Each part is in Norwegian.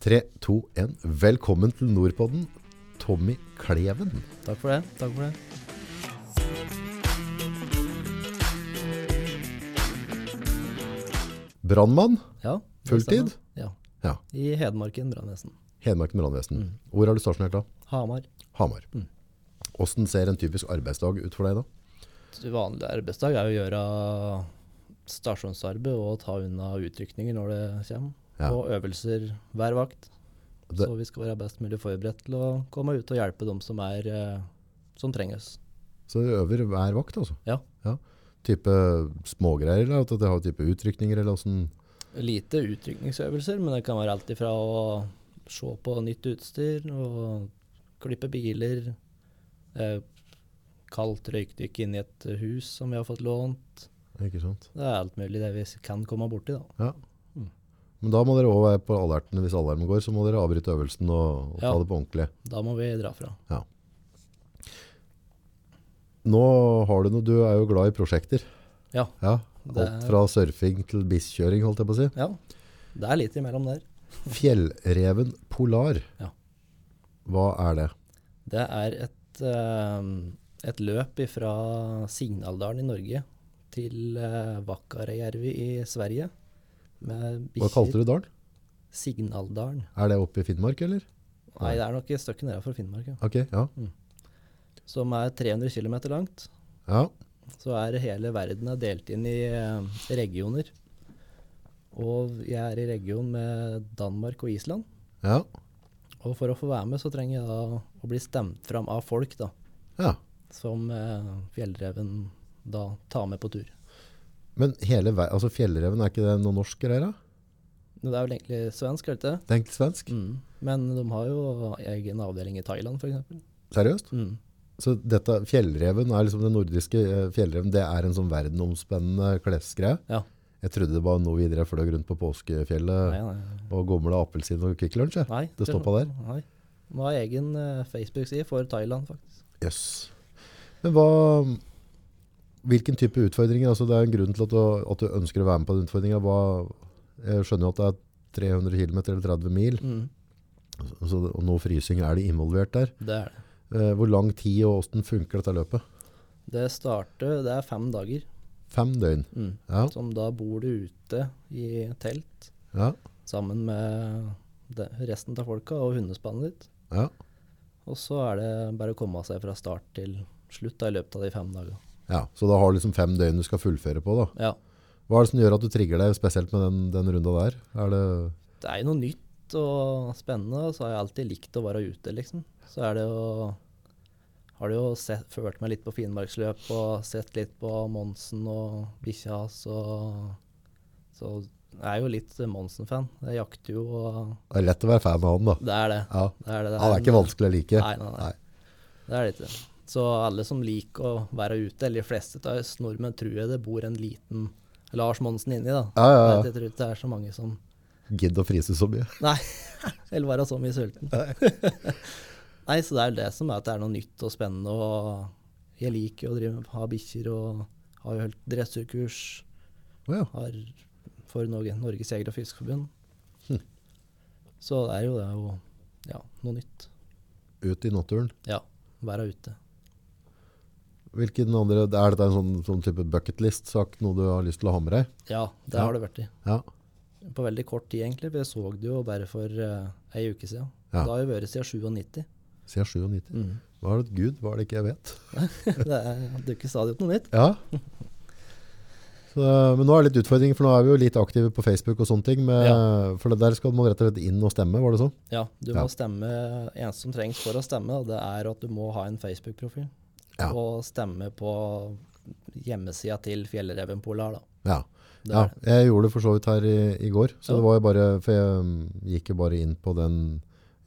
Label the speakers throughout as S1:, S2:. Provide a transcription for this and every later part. S1: 3, 2, 1. Velkommen til Nordpodden, Tommy Kleven.
S2: Takk for det. Takk for det.
S1: Brannmann,
S2: Ja, det
S1: Fulltid?
S2: stemmer. Ja.
S1: Ja.
S2: I Hedmarken, Brannesen.
S1: Hedmarken brannvesen.
S2: Mm.
S1: Hvor er du stasjonert da?
S2: Hamar.
S1: Hamar.
S2: Mm.
S1: Hvordan ser en typisk arbeidsdag ut for deg da?
S2: Vanlig arbeidsdag er jo å gjøre stasjonsarbeid og ta unna utrykninger når det kommer.
S1: Ja.
S2: Og øvelser hver vakt.
S1: Det-
S2: Så vi skal være best mulig forberedt til å komme ut og hjelpe dem som, er, eh, som trenges.
S1: Så du øver hver vakt altså?
S2: Ja.
S1: Type smågreier eller at det har type utrykninger eller hvordan?
S2: Lite utrykningsøvelser, men det kan være alt ifra å se på nytt utstyr og klippe biler, eh, kaldt røykdykk inn i et hus som vi har fått lånt.
S1: Ikke sant?
S2: Det er alt mulig det vi s- kan komme borti, da.
S1: Ja. Men da må dere også være på alerten hvis alarmen går, så må dere avbryte øvelsen og, og
S2: Ja.
S1: ta det på ordentlig.
S2: Da må vi dra fra.
S1: Ja. Nå har du noe, du er jo glad i prosjekter.
S2: Ja.
S1: Ja,
S2: Det
S1: alt
S2: er-
S1: fra surfing til bisskjøring, holdt jeg på å si.
S2: ja. Det er litt imellom der.
S1: Fjellreven Polar.
S2: Ja.
S1: Hva er det?
S2: Det er et, eh, et løp fra Signaldalen i Norge til eh, Vakkarejärvi i Sverige. Med
S1: Hva kalte du dalen?
S2: Signaldalen.
S1: Er det oppe i Finnmark, eller?
S2: Nei, det er nok et stykke nede fra Finnmark, ja.
S1: Ok, ja.
S2: som er 300 km langt,
S1: Ja,
S2: så er hele verden er delt inn i eh, regioner. Og jeg er i region med Danmark og Island.
S1: ja,
S2: Og for å få være med, så trenger jeg da å bli stemt fram av folk, da.
S1: ja.
S2: Som eh, fjellreven da tar med på tur.
S1: Men hele vei, altså fjellreven, er ikke det noe norsk greier da?
S2: Men Det er vel egentlig svensk, er det ikke det?
S1: Det er egentlig svensk.
S2: Mm. Men de har jo egen avdeling i Thailand, f.eks.
S1: Seriøst?
S2: Mm.
S1: Så dette fjellreven er liksom den nordiske eh, fjellreven, det er en sånn verdenomspennende klesgreie.
S2: Ja.
S1: Jeg trodde det var noe videre fløy rundt på påskefjellet
S2: Nei, nei.
S1: og gomla appelsin og Kvikk Lunsj. jeg.
S2: nei.
S1: Det stoppa der.
S2: Nei. De har egen eh, Facebook-side for Thailand, faktisk.
S1: Jøss. Men hva Hvilken type utfordringer? Altså, det er en grunn til at du, at du ønsker å være med på den utfordringa. Jeg skjønner jo at det er 300 km eller 30 mil,
S2: Mm.
S1: så, og noe frysing er det involvert der.
S2: Det er det.
S1: Eh, hvor lang tid og åssen funker dette løpet?
S2: Det starter Det er fem dager.
S1: Fem døgn.
S2: Mm.
S1: Ja,
S2: Som da bor du ute i telt
S1: ja,
S2: sammen med de, resten av folka og hundespannet ditt.
S1: ja.
S2: Og så er det bare å komme seg fra start til slutt da, i løpet av de fem dagene.
S1: ja. Så da har du liksom fem døgn du skal fullføre på. da.
S2: Ja.
S1: Hva er det som gjør at du trigger deg spesielt med den, den runda der? Er det,
S2: Det er jo noe nytt og spennende, og så har jeg alltid likt å være ute, liksom. Så er det jo Har det jo sett, ført meg litt på Finnmarksløp og sett litt på Monsen og bikkja hans og Så jeg er jo litt Monsen-fan. Jeg jakter jo og
S1: det er lett å være fan av han, da.
S2: Det er det.
S1: Ja.
S2: Det er det.
S1: Han er ikke
S2: en-
S1: vanskelig å like.
S2: Nei, nei, nei. Det er det ikke. Så alle som liker å være ute, eller de fleste av oss nordmenn, tror jeg det bor en liten Lars Monsen inni, da.
S1: Ja, ja, ja.
S2: Jeg tror ikke det er så mange som
S1: Gidd å frise så mye.
S2: Nei, eller være så mye sulten. Nei, så det er jo det som er at det er noe nytt og spennende, og jeg liker jo å drive med, ha bikkjer, og har jo holdt dressurkurs
S1: Å ja.
S2: har for Norge, Norges Jeger- og Fiskerforbund.
S1: Hm.
S2: Så det er jo, det er jo ja, noe nytt.
S1: Ut i naturen.
S2: Ja, være ute.
S1: Hvilken andre, er dette en sånn, sånn type bucketlist-sak, noe du har lyst til å ha med deg?
S2: Ja, det
S1: Ja.
S2: har det vært i.
S1: Ja.
S2: På veldig kort tid, egentlig. for Jeg så det jo bare for uh, ei uke siden.
S1: Ja.
S2: Det har jo vært siden 97.
S1: Siden 97.
S2: Mm.
S1: Hva er det Gud, hva er det ikke jeg vet?
S2: Det er- dukker stadig opp noe nytt.
S1: Ja. Så, men nå er det litt utfordring, for nå er vi jo litt aktive på Facebook og sånne ting, med, for det der skal man rett og slett inn og stemme, var det sånn?
S2: Ja, du
S1: Ja.
S2: må stemme. Eneste som trengs for å stemme, da, det er at du må ha en Facebook-profil.
S1: Ja.
S2: Og stemme på hjemmesida til Fjellreven Polar, da.
S1: Ja.
S2: Det
S1: ja.
S2: er
S1: Jeg gjorde det for så vidt her i, i går, så
S2: Ja.
S1: det var jo bare, for jeg mm, gikk jo bare inn på den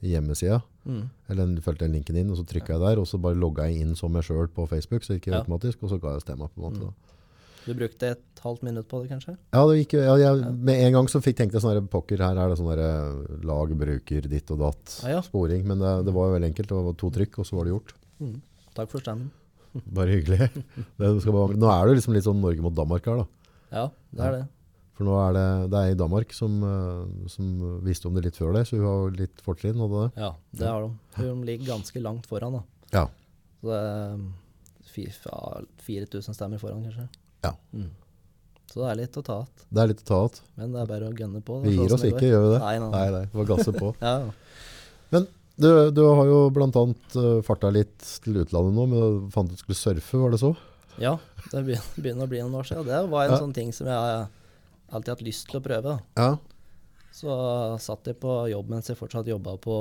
S1: hjemmesida,
S2: Mm.
S1: eller den- følte den linken inn, og så trykket jeg der, og så bare logget jeg inn som meg selv på Facebook, så det gikk
S2: Ja.
S1: automatisk, og så ga jeg stemma på en måte da.
S2: Du brukte et halvt minutt på det, kanskje?
S1: Ja, det gikk, jo- ja, jeg, med en gang så fikk tenkte jeg sånn her, pokker, her er det sånn her lag, bruker, ditt og datt,
S2: Ja, ja.
S1: sporing, men eh, det, det var jo veldig enkelt, det var to trykk, og så var det gjort.
S2: Mm. Takk for stemmen.
S1: Bare hyggelig. Det skal bare, nå er det jo liksom litt sånn Norge mot Danmark her da.
S2: Ja, det er det.
S1: For nå er det, det er i Danmark som, eh, som visste om det litt før det, så hun har jo litt fortrinn. Hadde det.
S2: Ja, det har de. De ligger ganske langt foran, da.
S1: Ja.
S2: Så det er fi- ja, 4000 stemmer foran, kanskje.
S1: Ja.
S2: Mm. Så det er litt å ta igjen.
S1: Det er litt å ta igjen.
S2: Men det er bare å gønne på. da,
S1: Vi
S2: sånn
S1: gir
S2: som
S1: oss ikke,
S2: går.
S1: gjør vi det?
S2: Nei, nei,
S1: Nei,
S2: nei.
S1: nei, vi får gasse på.
S2: Ja, ja.
S1: Du, du har jo blant annet eh, farta litt til utlandet nå, men du fant ut du skulle surfe, var det så?
S2: Ja, det begyn- begynner å bli noen år siden. Det var en
S1: Ja.
S2: sånn ting som jeg alltid har hatt lyst til å prøve. da.
S1: Ja.
S2: Så satt jeg på jobb mens jeg fortsatt jobba på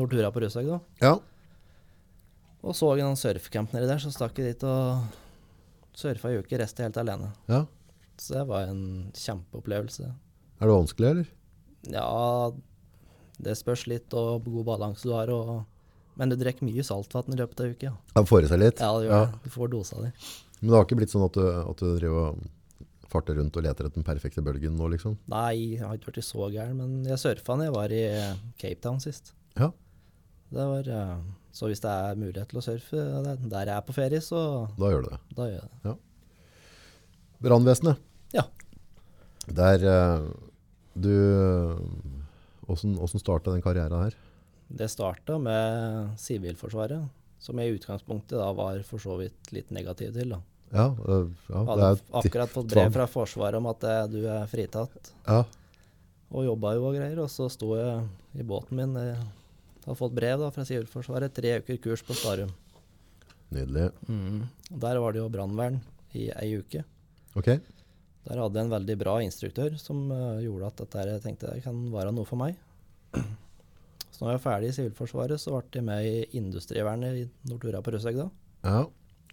S2: Nortura på Røshaug, da.
S1: Ja.
S2: Og så en surfecamp nedi der, så stakk jeg dit og surfa ei uke, resten helt alene.
S1: ja.
S2: Så det var en kjempeopplevelse.
S1: Er det vanskelig, eller?
S2: Ja, det spørs litt og hvor god balanse du har. Og, men du drikker mye saltvann i løpet av uka. Ja.
S1: Ja, får i seg litt.
S2: ja, det gjør
S1: Ja.
S2: det. Du får dosa di.
S1: Men det har ikke blitt sånn at du, at du driver og farter rundt og leter etter den perfekte bølgen nå, liksom?
S2: Nei, jeg har ikke vært så gæren, men jeg surfa da jeg var i eh, Cape Town sist.
S1: Ja.
S2: Det var, eh, så hvis det er mulighet til å surfe der der jeg er på ferie, så
S1: Da gjør du det.
S2: da gjør jeg det.
S1: Brannvesenet.
S2: Ja.
S1: Der eh, du Åssen åssen starta den karrieren her?
S2: Det starta med Sivilforsvaret, som jeg i utgangspunktet da var for så vidt litt negativ til. da.
S1: Ja, eh, ja, det
S2: Hadde
S1: er,
S2: akkurat fått brev
S1: tvang.
S2: fra Forsvaret om at eh, du er fritatt,
S1: ja,
S2: og jobba jo og greier. Og så sto jeg i båten min, jeg hadde fått brev da fra Sivilforsvaret, tre uker kurs på Starum.
S1: nydelig.
S2: Og Der var det jo brannvern i ei uke.
S1: Ok.
S2: Der hadde jeg en veldig bra instruktør som eh, gjorde at dette her, jeg tenkte det kan være noe for meg. Så når jeg var ferdig i Sivilforsvaret, så ble jeg med i industrivernet i Nortura på Røsegg da.
S1: Ja.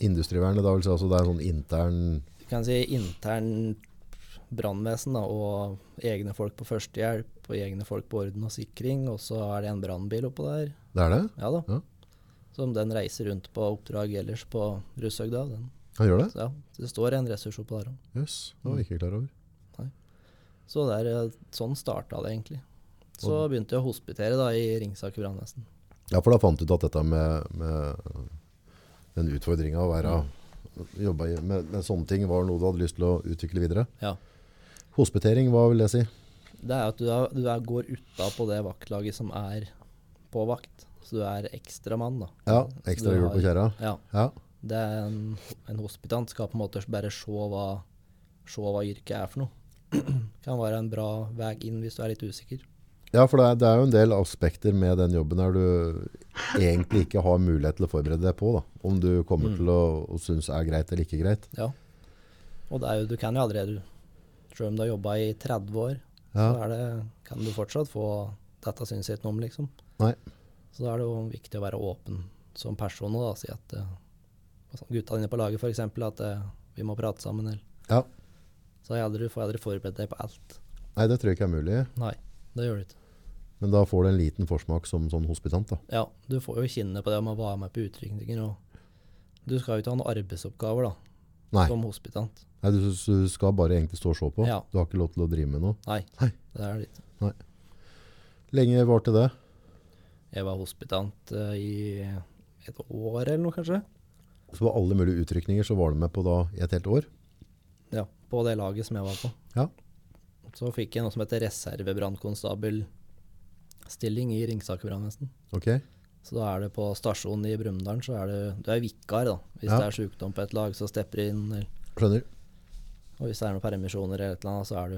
S1: Industrivernet, da vil si altså det er en sånn intern
S2: Du kan si intern brannvesen da, og egne folk på førstehjelp og egne folk på orden og sikring, og så er det en brannbil oppå der.
S1: Det er det?
S2: Ja da.
S1: Ja.
S2: Som den reiser rundt på oppdrag ellers på Røsegg da. Den.
S1: Han gjør det?
S2: Så ja, det står en ressurs oppå der òg.
S1: Jøss, det var jeg ikke klar over.
S2: Så der, eh, sånn starta det egentlig. Så begynte jeg å hospitere da i Ringsaker brannvesen.
S1: Ja, for da fant du ut at dette med, med den utfordringa å være jobbe i- med, med sånne ting var noe du hadde lyst til å utvikle videre.
S2: Ja.
S1: Hospitering, hva vil det si?
S2: Det er at du, er, du er, går utapå det vaktlaget som er på vakt. Så du er ekstramann, da.
S1: Ja, ekstra
S2: Du
S1: hjul
S2: har-
S1: på kjerra.
S2: Ja.
S1: Ja.
S2: Det er en, en hospitant skal på en måte bare se hva, se hva yrket er for noe. kan være en bra vei inn hvis du er litt usikker.
S1: ja, for det er, det er jo en del aspekter med den jobben her du egentlig ikke har mulighet til å forberede deg på. da. Om du
S2: Mm.
S1: kommer til å, å synes er greit eller ikke greit.
S2: Ja. Og det er jo, du kan jo allerede Selv om du har jobba i 30 år,
S1: Ja.
S2: så er det, kan du fortsatt få dette syns jeg ikke noe om, liksom.
S1: Nei.
S2: Så da er det jo viktig å være åpen som person og da, si at eh, altså, gutta dine på laget f.eks. at eh, vi må prate sammen. Eller.
S1: Ja.
S2: Så jeg aldri, får jeg aldri forberedt deg på alt.
S1: Nei, det tror jeg ikke er mulig.
S2: Nei, det gjør du ikke.
S1: Men da får du en liten forsmak som sånn hospitant. da.
S2: Ja, du får jo kinne på det med å være med på utrykninger. Og du skal jo ikke ha noen arbeidsoppgaver da,
S1: Nei,
S2: som hospitant.
S1: Nei du, du skal bare egentlig stå og se på.
S2: Ja.
S1: Du har ikke lov til å drive med noe.
S2: Nei,
S1: Nei.
S2: det er det ikke.
S1: Lenge var til det.
S2: Jeg var hospitant eh, i et år eller noe, kanskje.
S1: Så på alle mulige utrykninger så var du med på da i et helt år.
S2: Ja, på det laget som jeg var på.
S1: Ja.
S2: Så fikk jeg noe som heter reservebrannkonstabelstilling i Ringsaker brannvesen.
S1: Ok.
S2: Så da er det på stasjonen i Brumunddal, så er det, du er vikar, da. Hvis
S1: Ja.
S2: det er sykdom på et lag, så stepper du inn. Eller,
S1: Skjønner.
S2: og hvis det er noen permisjoner eller et eller annet, så er du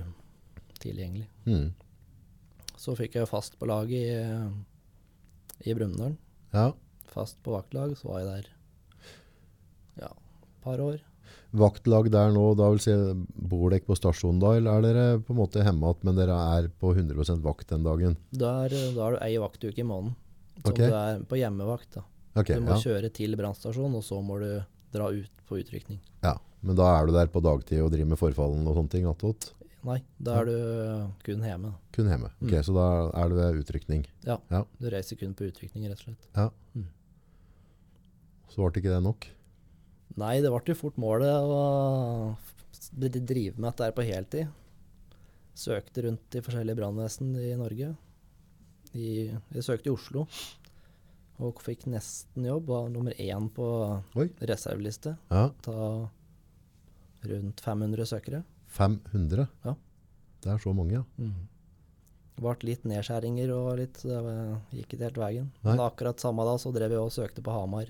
S2: tilgjengelig.
S1: Mm.
S2: Så fikk jeg fast på laget i, i Brumunddal.
S1: Ja.
S2: Fast på vaktlag, så var jeg der ja, et par år.
S1: Vaktlag der nå, da vil si, bor dere på stasjonen da, eller er dere på en måte hjemme igjen, men dere er på 100 vakt den dagen?
S2: Da er da er du ei vaktuke i måneden. Som
S1: Ok.
S2: du er på hjemmevakt, da.
S1: Ok,
S2: du må
S1: ja.
S2: kjøre til brannstasjonen, og så må du dra ut på utrykning.
S1: ja. Men da er du der på dagtid og driver med forfallen og sånne ting attåt?
S2: Nei, da er du kun hjemme. da.
S1: Kun hjemme. Ok,
S2: Mm.
S1: så da er det ved utrykning.
S2: Du reiser kun på utrykning, rett og slett.
S1: Så ble ikke det nok?
S2: Nei, det ble jo fort målet å f- drive med dette her på heltid. Søkte rundt i forskjellige brannvesen i Norge. I, jeg søkte i Oslo, og fikk nesten jobb. Var nummer én på
S1: Oi.
S2: reserveliste.
S1: Ja.
S2: Ta rundt 500 søkere.
S1: 500?
S2: Ja.
S1: Det er så mange, ja.
S2: Mm. Det ble litt nedskjæringer og litt så Det var- gikk ikke helt veien.
S1: Nei.
S2: Men akkurat samme da så drev jeg og søkte på Hamar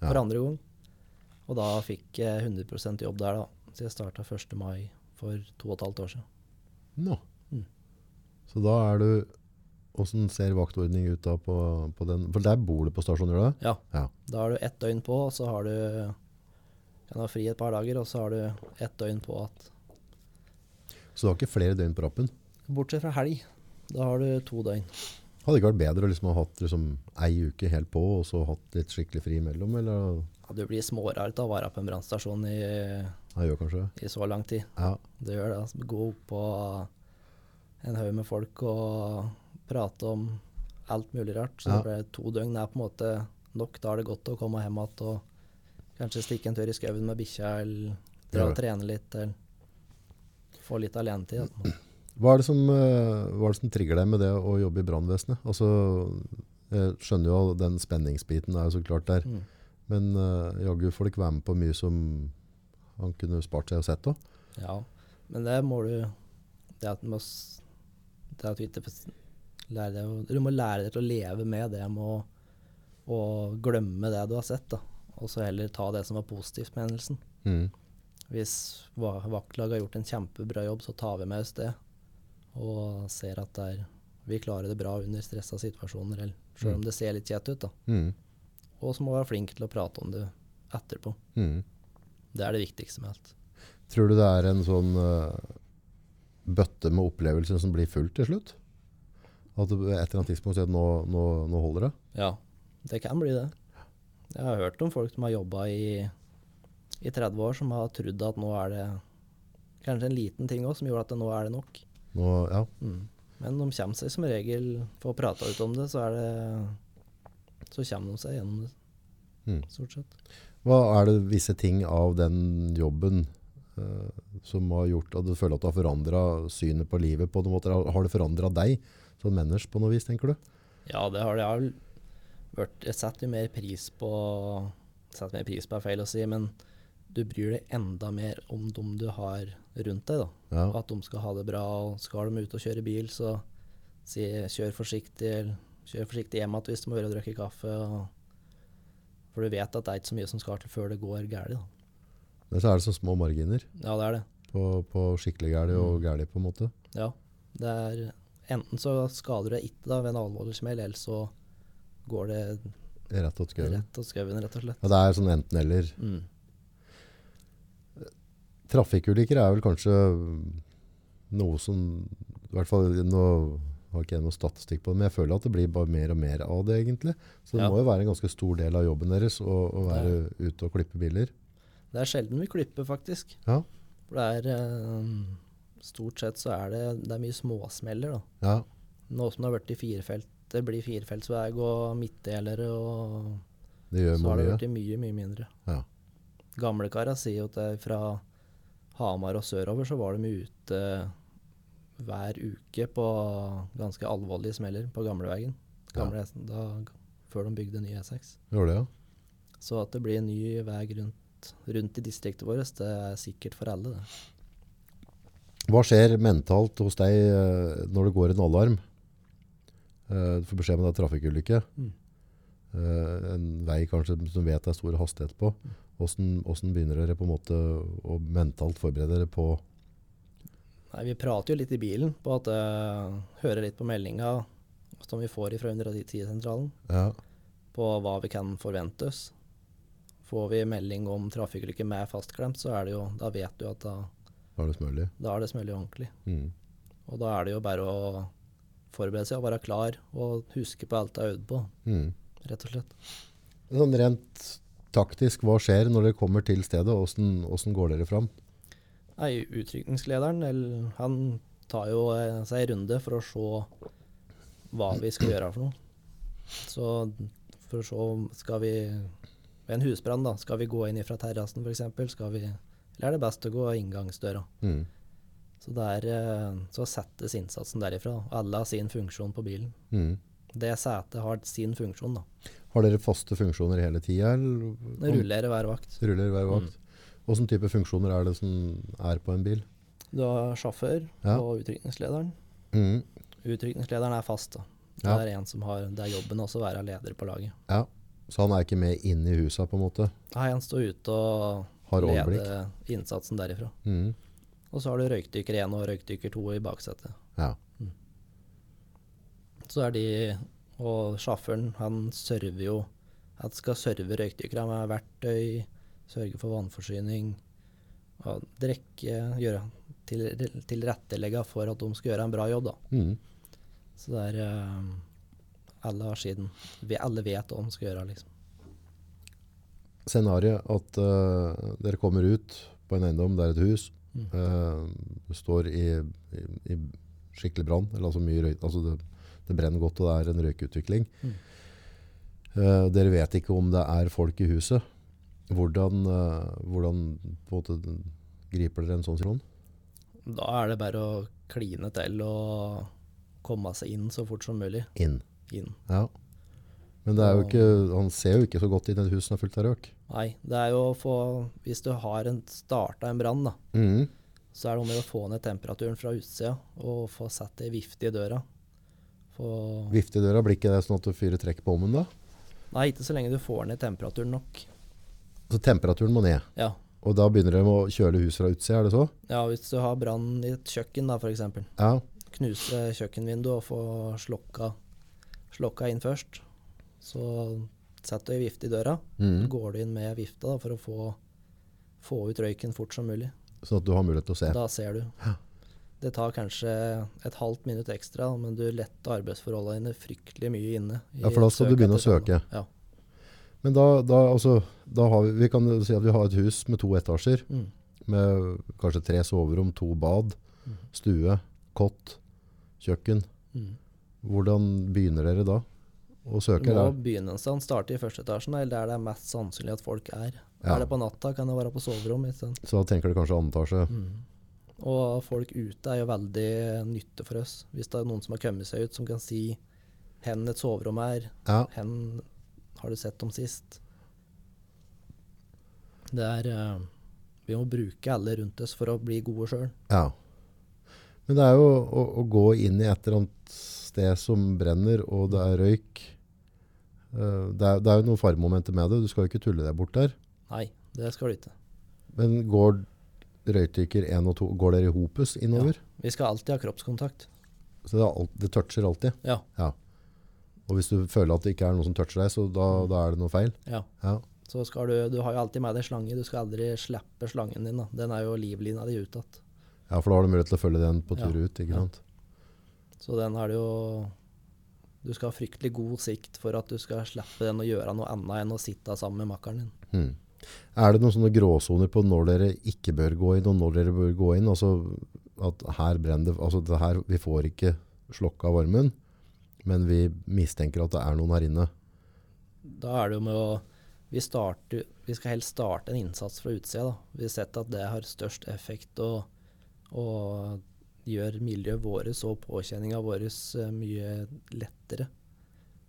S1: Ja.
S2: for andre gang. Og da fikk jeg 100 jobb der, da. Så jeg starta 1. mai for to og et halvt år siden.
S1: Nå.
S2: Mm.
S1: Så da er du Åssen ser vaktordning ut da på, på den? For der bor du på stasjon, gjør du det?
S2: Ja.
S1: Ja.
S2: Da har du ett døgn på, og så har du kan ha fri et par dager, og så har du ett døgn på at
S1: Så du har ikke flere døgn på rappen?
S2: Bortsett fra helg. Da har du to døgn.
S1: Hadde det ikke vært bedre å liksom ha hatt liksom, ei uke helt på, og så hatt litt skikkelig fri imellom? Eller?
S2: Ja, du blir smårart av å være på en brannstasjon i,
S1: Jeg gjør kanskje det.
S2: i så lang tid.
S1: Ja.
S2: Det gjør det. Altså, gå opp på en haug med folk og prate om alt mulig rart. Så
S1: Ja.
S2: det ble to døgn er på en måte nok. Da er det godt å komme hjem igjen og kanskje stikke en tur i skauen med bikkja, eller dra
S1: Gjør
S2: og trene litt, eller få litt altså. alenetid. da.
S1: Hva er det som, eh, hva er det som trigger deg med det å jobbe i brannvesenet? Altså, jeg skjønner jo at den spenningsbiten er jo så klart der,
S2: Mm.
S1: men uh, jaggu får du ikke være med på mye som han kunne spart seg og sett òg.
S2: Ja, men det må du Det at, du må, s- det at du ikke f- lærer deg å, Du må lære deg til å leve med det med å, å glemme det du har sett, da. Og så heller ta det som var positivt med hendelsen.
S1: Mm.
S2: Hvis va- vaktlaget har gjort en kjempebra jobb, så tar vi med oss det. Og ser at det er, vi klarer det bra under stressa situasjoner, eller selv om det ser litt kjett ut. da.
S1: Mm.
S2: Og så må du være flink til å prate om det etterpå.
S1: Mm.
S2: Det er det viktigste med alt.
S1: Tror du det er en sånn eh, bøtte med opplevelser som blir full til slutt? At du på et eller annet tidspunkt sier at nå, nå, nå holder det?
S2: Ja, det kan bli det. Jeg har hørt om folk som har jobba i, i 30 år, som har trodd at nå er det kanskje en liten ting òg som gjorde at det, nå er det nok.
S1: Nå, ja.
S2: Mm. Men de kommer seg som regel Får prata ut om det, så er det Så kommer de seg gjennom det,
S1: Mm.
S2: stort sett.
S1: Hva er det visse ting av den jobben eh, som har gjort at du føler at du har forandra synet på livet på noen måter? Har- Har det forandra deg som menneske på noe vis, tenker du?
S2: Ja, det har det. Jeg har vel vært- Jeg setter jo mer pris på Setter mer pris på er feil å si, men du bryr deg enda mer om dem du har rundt deg, da.
S1: Ja.
S2: Og at de skal ha det bra. og Skal de ut og kjøre bil, så si 'kjør forsiktig', eller 'kjør forsiktig hjem igjen hvis du må gjøre og drikke kaffe'. Og for du vet at det er ikke så mye som skal til før det går galt. da.
S1: Men så er det så små marginer
S2: Ja, det er det.
S1: på, på skikkelig gæli og gæli, på en måte.
S2: Ja. Det er enten så skader du deg ikke da ved en alvorlig smell, eller så går det
S1: Rett og slett.
S2: rett og skauen, rett og slett.
S1: Ja, det er sånn enten-eller.
S2: Mm.
S1: Trafikkulykker er vel kanskje mm, noe som I hvert fall nå har ikke jeg noe statistikk på det, men jeg føler at det blir bare mer og mer av det, egentlig. Så det
S2: Ja.
S1: må jo være en ganske stor del av jobben deres å, å være ute og klippe biler.
S2: Det er sjelden vi klipper, faktisk.
S1: Ja.
S2: For det er eh, Stort sett så er det, det er mye småsmeller, da.
S1: Ja.
S2: Nå som det har vært i firefelt, det blir firefeltsvei og midtdelere, og
S1: Det gjør
S2: så
S1: man
S2: har det
S1: mye.
S2: blitt mye, mye mindre.
S1: Ja.
S2: Gamlekara sier jo at det er fra Hamar og sørover så var de ute hver uke på ganske alvorlige smeller på gamleveien. Gamle E6 da, før de bygde ny E6.
S1: Gjør det, ja.
S2: Så at det blir en ny vei rundt, rundt i distriktet vårt, det er sikkert for alle, det.
S1: Hva skjer mentalt hos deg eh, når det går en alarm? Eh, Du får beskjed om det er trafikkulykke.
S2: Mm.
S1: Eh, En vei kanskje som vet det er stor hastighet på.
S2: Mm.
S1: Hvordan, hvordan begynner dere på en måte å mentalt forberede dere på
S2: Nei, vi prater jo litt i bilen på at eh, hører litt på meldinga som vi får fra 110-sentralen,
S1: ja.
S2: på hva vi kan forvente oss. Får vi melding om trafikkulykke med fastklemt, så er det jo, da vet du at da,
S1: Da er det smørlig.
S2: da er det smell ordentlig.
S1: Mm.
S2: Og da er det jo bare å forberede seg og være klar og huske på alt du har øvd på,
S1: Mm.
S2: rett og slett.
S1: Sånn rent taktisk, hva skjer når dere kommer til stedet? Hvordan, hvordan går dere fram?
S2: Nei, utrykningslederen, eller, han tar jo eh, seg en runde for å se hva vi skal gjøre for noe. Så for å se om skal vi Ved en husbrann, da, skal vi gå inn fra terrassen f.eks.? Skal vi Eller er det best å gå inngangsdøra?
S1: Mm.
S2: Så, der, eh, så settes innsatsen derifra. da. Alle har sin funksjon på bilen.
S1: Mm.
S2: Det setet har sin funksjon, da.
S1: Har dere faste funksjoner hele tida? eller-
S2: Det ruller hver vakt.
S1: Mm. Ruller hver vakt. Hvilken type funksjoner er det som er på en bil?
S2: Du har sjåfør
S1: Ja.
S2: og utrykningslederen.
S1: Mm.
S2: Utrykningslederen er fast. da. Det
S1: Ja.
S2: er en som har, det er jobben også å være leder på laget.
S1: Ja. Så han er ikke med inne i huset, på en måte.
S2: Nei, han står ute og
S1: Har overblikk.
S2: leder innsatsen derifra.
S1: Mm.
S2: Og så har du røykdykker 1 og røykdykker 2 i baksetet.
S1: Ja.
S2: Så er de, og sjåføren, han server jo Han skal serve røykdykkere med verktøy, sørge for vannforsyning, og drikke, gjøre til, tilrettelegge for at de skal gjøre en bra jobb, da.
S1: Mm.
S2: Så det er eh, Alle har siden. Vi alle vet hva de skal gjøre, liksom.
S1: Scenariet at eh, dere kommer ut på en eiendom, det er et hus, eh, står i, i, i skikkelig brann, eller altså mye røyk, altså det, det brenner godt og det er en røykutvikling.
S2: Mm.
S1: Eh, dere vet ikke om det er folk i huset. Hvordan, eh, hvordan på en måte, griper dere en sånn situasjon?
S2: Da er det bare å kline til og komme seg inn så fort som mulig.
S1: Inn.
S2: Inn.
S1: Ja. Men det er jo ikke, han ser jo ikke så godt inn i et hus som er fullt av røyk.
S2: Nei, det er jo å få Hvis du har en, starta en brann, da,
S1: Mhm.
S2: så er det om å gjøre å få ned temperaturen fra utsida og få satt ei vifte i døra. Få
S1: Vifte i døra, blir ikke det sånn at du fyrer trekk på ommen da?
S2: Nei, ikke så lenge du får ned temperaturen nok.
S1: Så temperaturen må ned.
S2: Ja.
S1: Og da begynner de å kjøle huset fra utsida, er det så?
S2: ja, hvis du har brann i et kjøkken, da, f.eks.
S1: Ja.
S2: Knuse kjøkkenvinduet og få slokka, slokka inn først. Så setter du ei vifte i døra.
S1: Mhm.
S2: Går du inn med vifta da, for å få, få ut røyken fort som mulig.
S1: Sånn at du har mulighet til å se.
S2: Da ser du. Det tar kanskje et halvt minutt ekstra, men du letter arbeidsforholdene dine fryktelig mye inne. i
S1: Ja, for da skal
S2: et
S1: du begynne
S2: søk
S1: å
S2: etter brann.
S1: Men da, da, altså, da har vi, vi kan jo si at vi har et hus med to etasjer,
S2: Ja. Mm.
S1: med kanskje tre soverom, to bad,
S2: Mhm.
S1: stue, kott, kjøkken.
S2: Mm.
S1: Hvordan begynner dere da å
S2: Du
S1: søke?
S2: må
S1: Der?
S2: begynne en sted. Starte i første etasjen, da, eller der det er mest sannsynlig at folk er.
S1: Ja.
S2: Er det på natta, kan det være på soverommet isteden.
S1: Så da tenker du kanskje andre etasje.
S2: Mm. Og folk ute er jo veldig nytte for oss. Hvis det er noen som har kommet seg ut, som kan si hen et soverom er,
S1: Ja.
S2: hen har du sett dem sist. Det er eh, Vi må bruke alle rundt oss for å bli gode sjøl.
S1: ja. Men det er jo å, å gå inn i et eller annet sted som brenner, og det er røyk. Eh, Det er, det er jo noen faremomenter med det. Du skal jo ikke tulle deg bort der.
S2: Nei, det skal du ikke.
S1: Men går røytykker 1 og 2, går dere i hopus innover?
S2: Vi skal alltid ha kroppskontakt.
S1: Så det, er alt, det toucher alltid.
S2: Ja.
S1: Ja. Og hvis du føler at det ikke er noe som toucher deg, så da, da er det noe feil.
S2: ja.
S1: Ja.
S2: Så skal du Du har jo alltid med deg slange. Du skal aldri slippe slangen din. da. Den er jo livlina di utad.
S1: ja, for da har du mulighet til å følge den på tur
S2: Ja.
S1: ut, ikke
S2: Ja.
S1: sant?
S2: Så den er det jo Du skal ha fryktelig god sikt for at du skal slippe den å gjøre noe annet enn å sitte sammen med makkeren din.
S1: Hmm. Er det noen sånne gråsoner på når dere ikke bør gå inn, og når dere bør gå inn? Altså at her brenner det, altså det her, vi får ikke slokka varmen, men vi mistenker at det er noen her inne.
S2: Da er det jo med å vi, starter, vi skal helst starte en innsats fra utsida. da. Vi har sett at det har størst effekt og, og gjør miljøet vårt og påkjenninga vår mye lettere.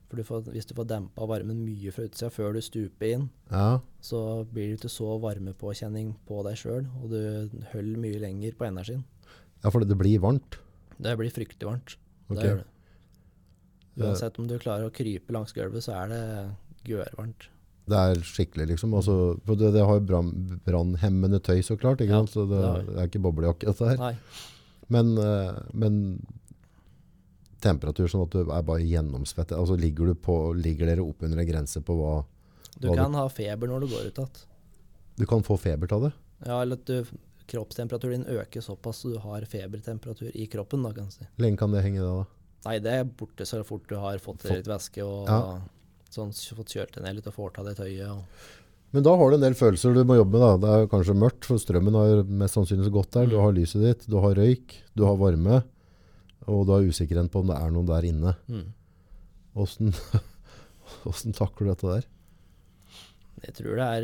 S2: For du får, hvis du får dempa varmen mye fra utsida før du stuper inn,
S1: Ja,
S2: så blir det ikke så varmepåkjenning på deg sjøl, og du holder mye lenger på energien.
S1: ja for det, det blir varmt.
S2: Det blir fryktelig varmt.
S1: Ok.
S2: Det gjør det.
S1: Det-
S2: Uansett om du klarer å krype langs gulvet, så er det gørrvarmt.
S1: Det er skikkelig, liksom. Altså, for det, det har jo brann- brannhemmende tøy, så klart. Ikke
S2: Ja,
S1: sant? Så det,
S2: det har vi.
S1: det er ikke boblejakke, dette her.
S2: Nei.
S1: Men, eh, men temperatur sånn at du er bare gjennomsvettet. Altså, ligger, du på, ligger dere oppunder en grense på hva
S2: Du
S1: Hva du-
S2: kan ha feber når du går ut igjen.
S1: Du kan få feber av det.
S2: Ja, eller at du, kroppstemperaturen din øker såpass så du har febertemperatur i kroppen, da, kan du si.
S1: Lenge kan det henge i det, da.
S2: Nei, det er borte så fort du har fått i deg litt væske og
S1: Ja.
S2: sånn, fått kjølt deg ned litt og får av deg tøyet. Og,
S1: Men da har du en del følelser du må jobbe med. Da. Det er jo kanskje mørkt, for strømmen har mest sannsynlig så gått der. Du har lyset ditt, du har røyk, du har varme, og du har usikkerhet på om det er noen der inne.
S2: mm.
S1: Åssen åssen takler du dette der?
S2: Jeg tror det er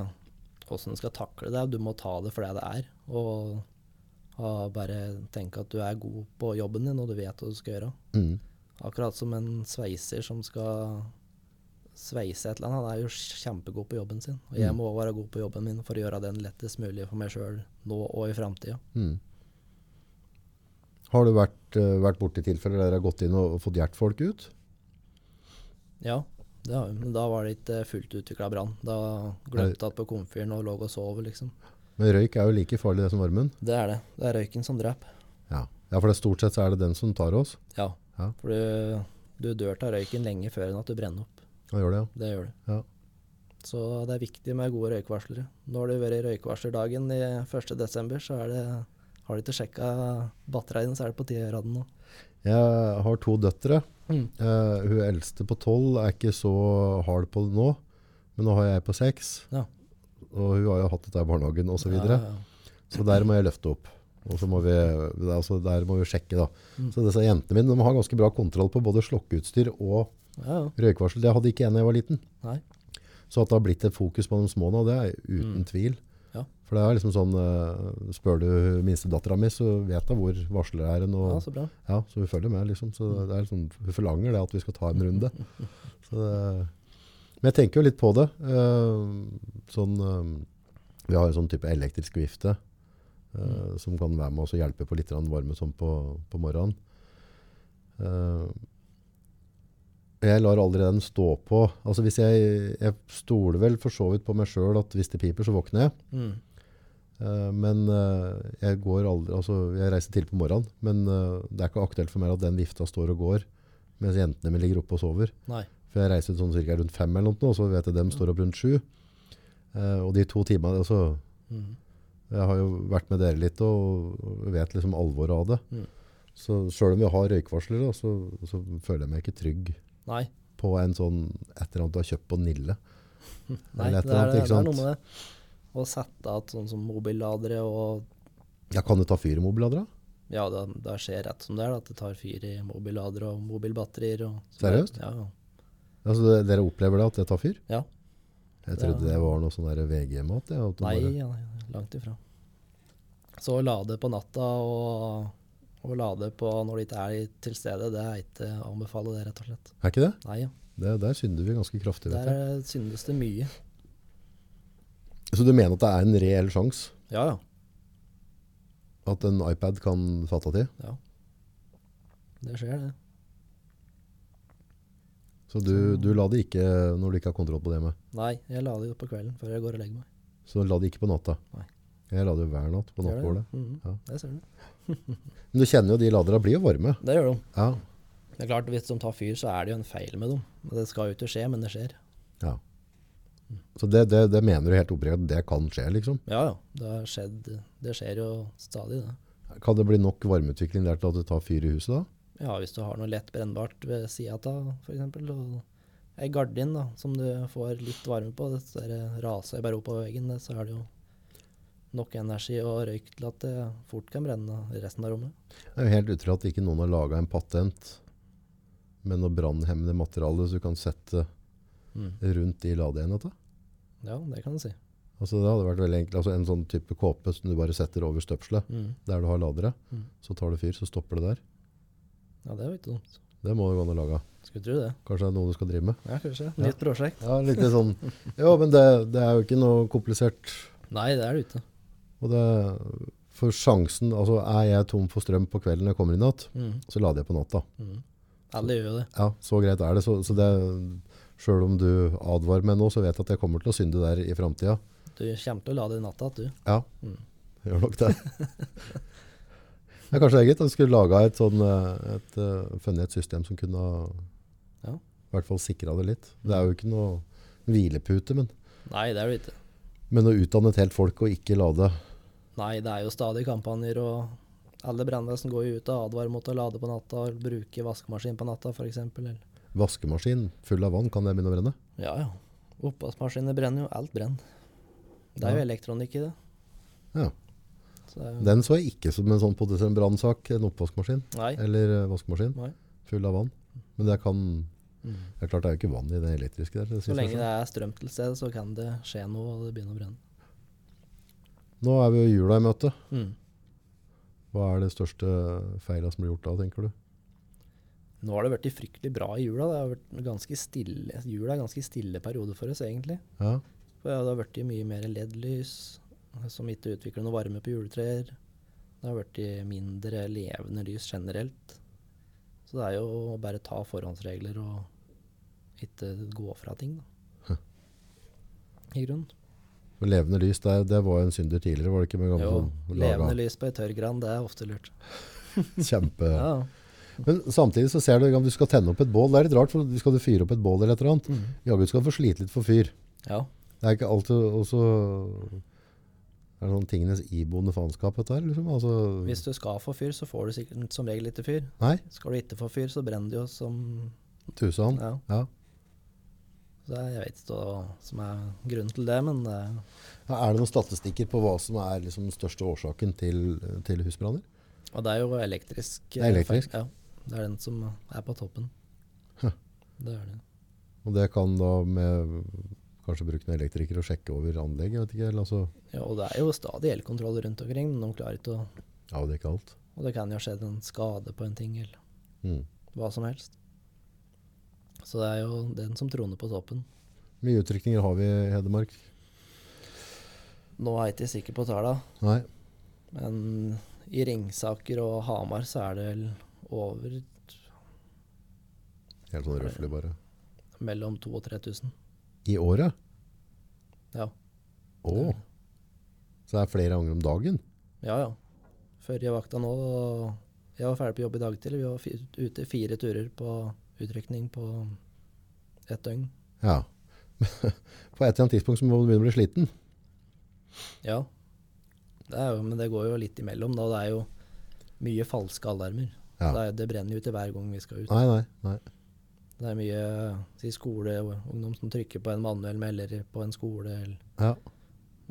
S2: eh, hvordan du skal takle det. Du må ta det for det det er. Og, og bare tenke at du er god på jobben din, og du vet hva du skal gjøre.
S1: Mm.
S2: Akkurat som en sveiser som skal sveise et eller annet. Han er jo kjempegod på jobben sin. Og jeg må òg være god på jobben min for å gjøre den lettest mulig for meg sjøl nå og i framtida.
S1: Mm. Har du vært, eh, vært borti tilfeller der dere har gått inn og og fått hjertfolk ut?
S2: Ja, det har vi. Men da var det ikke fullt utvikla brann. Da glemte jeg at på komfyren og lå og sov, liksom.
S1: Men røyk er jo like farlig det som varmen.
S2: Det er det. Det er røyken som dreper.
S1: Ja, ja for det, stort sett så er det den som tar oss.
S2: Ja.
S1: Ja.
S2: For du, du dør av røyken lenge før enn at du brenner opp.
S1: Ja, gjør det, ja.
S2: Det gjør du.
S1: Ja.
S2: Så det er viktig med gode røykvarslere. Nå har det vært røykvarslerdagen i 1.12., så er det, har du ikke sjekka batteriene, så er det på 10-raden nå.
S1: Jeg har to døtre.
S2: Mm.
S1: Eh, hun eldste på tolv er ikke så hard på det nå, men nå har jeg på seks.
S2: Ja.
S1: Og hun har jo hatt dette i barnehagen osv. Så, videre.
S2: Ja, ja.
S1: så der må jeg løfte opp. Og så må vi, det er altså, der må vi sjekke, da.
S2: Mm.
S1: Så disse jentene mine de har ganske bra kontroll på både slokkeutstyr og
S2: ja, ja.
S1: røykvarsel. Det hadde ikke jeg da jeg var liten.
S2: Nei.
S1: Så at det har blitt et fokus på de små nå, det er uten tvil.
S2: Mm. Ja.
S1: For det er liksom sånn, eh, spør du minstedattera mi, så vet hun hvor varsler er. Og,
S2: ja, så bra.
S1: ja, så hun følger med, liksom. Så det er liksom, hun forlanger det at vi skal ta en runde. Så det, men jeg tenker jo litt på det. eh, sånn, eh, vi har en sånn type elektrisk vifte eh, som kan være med oss og hjelpe på litt grann varme sånn på, på morgenen. Eh, jeg lar aldri den stå på. Altså hvis jeg, jeg stoler vel for så vidt på meg sjøl at hvis det piper, så våkner jeg.
S2: Mm.
S1: Eh, men eh, jeg, går aldri, altså, jeg reiser til på morgenen, men eh, det er ikke aktuelt for meg at den vifta står og går mens jentene mine ligger oppe og sover.
S2: Nei.
S1: For jeg reiser ut sånn cirka rundt fem eller noe, nå, og så vet jeg dem står opp rundt sju. Eh, og de to timene, altså,
S2: Mm.
S1: jeg har jo vært med dere litt og og vet liksom alvoret av det.
S2: Mm.
S1: Så selv om jeg har røykvarsler, da, så, så føler jeg meg ikke trygg
S2: Nei.
S1: på en sånn et eller annet du har kjøpt på Nille.
S2: Nei,
S1: Eller et
S2: det er,
S1: eller annet,
S2: det
S1: ikke
S2: er
S1: sant?
S2: noe med det. Å sette av sånn som mobilladere og
S1: Ja, kan du ta fyr i mobilladera?
S2: Ja, det, det skjer rett som det er, da, at det tar fyr i mobilladere og mobilbatterier. Og, så
S1: Seriøst?
S2: Det, ja, ja.
S1: Altså, det- dere opplever det at det tar fyr?
S2: Ja.
S1: Jeg
S2: Det er-
S1: trodde det var noe sånn der VG-mat. Ja, at du
S2: Nei,
S1: bare-
S2: ja, nei, nei, langt ifra. Så å lade på natta og, og lade på når det ikke er til stede, det er ikke å anbefale det, rett og slett.
S1: Er ikke det?
S2: Nei, ja.
S1: det? Der synder vi ganske kraftig. Vet
S2: Der
S1: jeg.
S2: er- syndes det mye.
S1: Så du mener at det er en reell sjanse
S2: Ja, ja.
S1: at en iPad kan fatte til?
S2: Det skjer, det.
S1: Så du, du la det ikke når du ikke har kontroll på det med?
S2: Nei, jeg lader jo på kvelden før jeg går og legger meg.
S1: Så la det ikke på natta?
S2: Nei.
S1: Jeg la det jo hver natt på
S2: Gjør det?
S1: nattbordet.
S2: Mhm,
S1: Ja.
S2: Det ser du.
S1: Men du kjenner jo de ladera blir jo varme.
S2: Det gjør de.
S1: Ja.
S2: Det er klart, Hvis de tar fyr, så er det jo en feil med dem. Det skal jo ikke skje, men det skjer.
S1: ja. Så det, det, det mener du helt oppriktig at det kan skje, liksom?
S2: Ja, ja. Det, har skjedd, det skjer jo stadig, det.
S1: Kan det bli nok varmeutvikling der til at det tar fyr i huset da?
S2: Ja, hvis du har noe lett brennbart ved sida av, f.eks. Og ei gardin da, som du får litt varme på, det der raser bare oppover veggen, det, så er det jo nok energi og røyk til at det fort kan brenne i resten av rommet.
S1: Det er jo helt utrolig at ikke noen har laga en patent med noe brannhemmende materiale så du kan sette
S2: Mm.
S1: rundt i ladeenheten.
S2: Ja, det kan du si.
S1: Altså, det hadde vært veldig enkelt. Altså, en sånn type kåpe som du bare setter over støpselet
S2: Mm.
S1: der du har ladere.
S2: Mm.
S1: Så tar det fyr, så stopper det der.
S2: Ja, det er jo ikke dumt.
S1: Det må jo gå an å lage.
S2: Skulle tro det.
S1: Kanskje det er noe du skal drive med.
S2: Ja, kanskje. Nytt prosjekt.
S1: Ja, litt sånn. Jo, men det, det er jo ikke noe komplisert.
S2: Nei, det er det ikke.
S1: Og det, for sjansen Altså, er jeg tom for strøm på kvelden når jeg kommer i natt,
S2: Mm.
S1: så lader jeg på natta.
S2: Mm. Alle gjør jo det.
S1: Ja, så greit er det. Så, så det Sjøl om du advarer meg nå, så vet jeg at jeg kommer til å synde der i framtida.
S2: Du kommer til å lade i natta, du.
S1: Ja,
S2: Mm.
S1: gjør nok det. Ja, kanskje det er greit at du skulle laga et sånn eh, et, eh, funnet et system som kunne ha
S2: Ja.
S1: i hvert fall sikra det litt. Det er jo ikke noe hvilepute, men,
S2: Nei, det er det ikke.
S1: men å utdanne et helt folk og ikke lade
S2: Nei, det er jo stadig kampanjer, og alle brannvesen går jo ut og advarer mot å lade på natta, og bruke vaskemaskin på natta f.eks.
S1: vaskemaskin full av vann, kan det begynne å brenne?
S2: Ja, ja. Oppvaskmaskiner brenner jo. Alt brenner. Det er jo elektronikk i det.
S1: Ja.
S2: Så det er jo,
S1: Den så jeg ikke som en sånn potensiell brannsak, en oppvaskmaskin
S2: nei.
S1: eller eh, vaskemaskin
S2: nei.
S1: full av vann. Men det kan
S2: Mm.
S1: Det er klart det er jo ikke vann i det elektriske der. Det
S2: Så
S1: sier seg selv.
S2: lenge det er strøm til stede, så kan det skje noe, og det begynner å brenne.
S1: Nå er vi jo jula i møte.
S2: Mm.
S1: Hva er det største feila som blir gjort da, tenker du?
S2: Nå har det vært fryktelig bra i jula. Det har vært en ganske stille, jula er en ganske stille periode for oss, egentlig.
S1: Ja,
S2: For det har vært mye mer LED-lys, som ikke utvikler noe varme på juletrær. Det har blitt mindre levende lys generelt. Så det er jo å bare ta forhåndsregler og ikke gå fra ting, da. I grunnen.
S1: Men levende lys, det, det var jo en synder tidligere, var det ikke? Med gamle, sånn
S2: Jo,
S1: som laga-
S2: levende lys på ei tørr gran, det er ofte lurt.
S1: Kjempe.
S2: Ja.
S1: Men samtidig så ser du at du skal tenne opp et bål. Det er litt rart, for skal du fyre opp et bål eller et eller annet,
S2: Mhm.
S1: jaggu skal du få slite litt for fyr.
S2: ja.
S1: Det er ikke alltid også er det sånn tingenes iboende faenskap dette her, liksom? Altså,
S2: Hvis du skal få fyr, så får du sikkert som regel ikke fyr.
S1: nei,
S2: Skal du ikke få fyr, så brenner du jo som
S1: tusen han.
S2: Ja.
S1: Ja.
S2: Så det er- jeg vet ikke hva som er grunnen til det, men eh, det er
S1: Er det noen statistikker på hva som er liksom den største årsaken til, til husbranner?
S2: Og det er jo elektrisk. eh,
S1: Det er elektrisk.
S2: Ja, det er den som er på toppen.
S1: Huh.
S2: Det er det.
S1: Og det kan da med kanskje bruke en elektriker og sjekke over anlegget, vet ikke, eller altså,
S2: Ja, og det er jo stadig elkontroll rundt omkring, men de klarer ikke å
S1: ja, det er ikke alt.
S2: Og det kan jo ha skjedd en skade på en ting, eller
S1: Mm.
S2: hva som helst. Så det er jo den som troner på toppen.
S1: Mye utrykninger har vi i Hedmark?
S2: Nå er jeg ikke sikker på tallene,
S1: Nei,
S2: men i Ringsaker og Hamar så er det vel over
S1: helt sånn røffelig bare.
S2: mellom 2000 og 3000.
S1: I året?
S2: Ja.
S1: Åh. Så det er flere ganger om dagen?
S2: Ja, ja. Før jeg vakta nå, jeg var ferdig på jobb i dag til, vi var fi- ute fire turer på utrykning på ett døgn.
S1: Ja. På et eller annet tidspunkt så må du begynne å bli sliten.
S2: Ja, det er jo, men det går jo litt imellom da, det er jo mye falske alarmer.
S1: Ja.
S2: Det, er, det brenner jo til hver gang vi skal ut.
S1: Nei, nei, nei.
S2: Det er mye si skoleungdom som trykker på en manuell melder på en skole, eller
S1: Ja.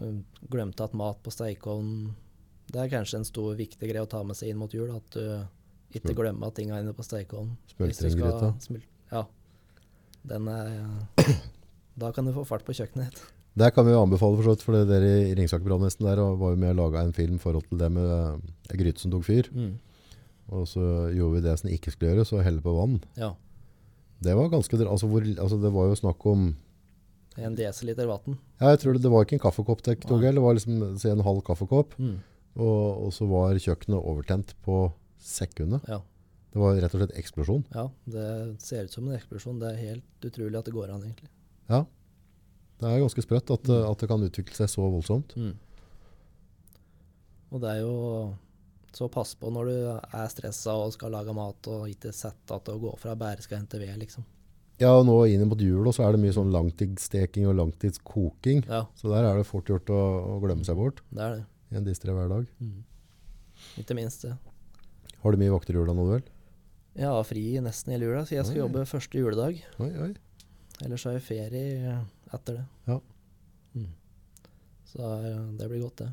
S2: mm, glemte at mat på steikeovnen. Det er kanskje en stor viktig greie å ta med seg inn mot jul, at du ikke
S1: Smul-
S2: glemmer at tingene er inne på steikeovnen. Hvis du skal
S1: Smultringgryta.
S2: smul- Ja. Den er Da kan du få fart på kjøkkenet ditt.
S1: Der kan vi jo anbefale for så vidt, for det dere i Ringsaker brannvesen der og var jo med og laga en film i forhold til det med eh, ei gryte som tok fyr.
S2: Mm,
S1: Og så gjorde vi det som ikke skulle gjøres, og helle på vann.
S2: Ja.
S1: Det var ganske dra- altså, hvor, altså Det var jo snakk om
S2: En desiliter vann.
S1: ja, jeg tror det, det var ikke en kaffekopp det tok
S2: Nei.
S1: jeg, det var liksom si, en halv kaffekopp.
S2: Mm.
S1: Og, og så var kjøkkenet overtent på sekundet.
S2: Ja.
S1: Det var rett og slett eksplosjon.
S2: ja. Det ser ut som en eksplosjon. Det er helt utrolig at det går an, egentlig.
S1: Ja. Det er ganske sprøtt at, eh, at det kan utvikle seg så voldsomt.
S2: Mm. Og det er jo Så pass på når du er stressa og skal lage mat, og ikke sette at det å gå fra bare skal hente ved, liksom.
S1: Ja, og nå inn mot jul også er det mye sånn langtidssteking og langtidskoking.
S2: Ja,
S1: Så der er det fort gjort å, å glemme seg bort
S2: det er det.
S1: i en distré hverdag.
S2: Ikke minst det.
S1: Har du mye vakter i jula nå, vel?
S2: Jeg har fri nesten hele jula, så jeg skal
S1: Oi.
S2: jobbe første juledag.
S1: Oi, oi.
S2: Ellers har jeg ferie eh, etter det.
S1: Ja.
S2: Mm. Så det er- det blir godt, det.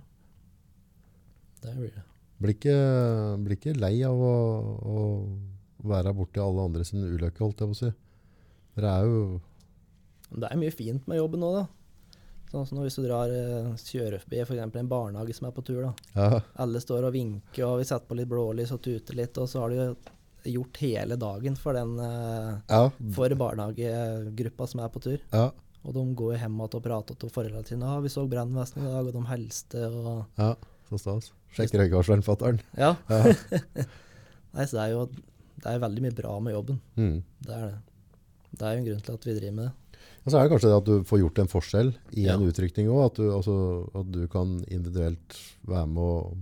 S2: Det blir det.
S1: Blir ikke, blir ikke lei av å, å være borti alle andre sin ulykke, holdt jeg på å si. Dere er jo
S2: Men det er mye fint med jobben nå, da. Sånn som når hvis du drar, eh, kjører forbi for eksempel en barnehage som er på tur, da.
S1: ja,
S2: Alle står og vinker, og vi setter på litt blålys og tuter litt, og så har du jo gjort hele dagen for den eh,
S1: ja,
S2: for barnehagegruppa som er på tur.
S1: ja,
S2: Og de går jo hjem igjen og prater til foreldrene sine. Ja, 'Vi så brannvesenet i dag, og de hilste', og
S1: ja. Så stas. Sjekk røykvarsleren, fatter'n.
S2: Ja.
S1: Ja.
S2: Nei, så det er jo det er veldig mye bra med jobben.
S1: Mm.
S2: Det er det. Det er jo en grunn til at vi driver med det.
S1: Og så er det kanskje det at du får gjort en forskjell i
S2: Ja.
S1: en utrykning òg. At, du- altså, at du kan individuelt være med å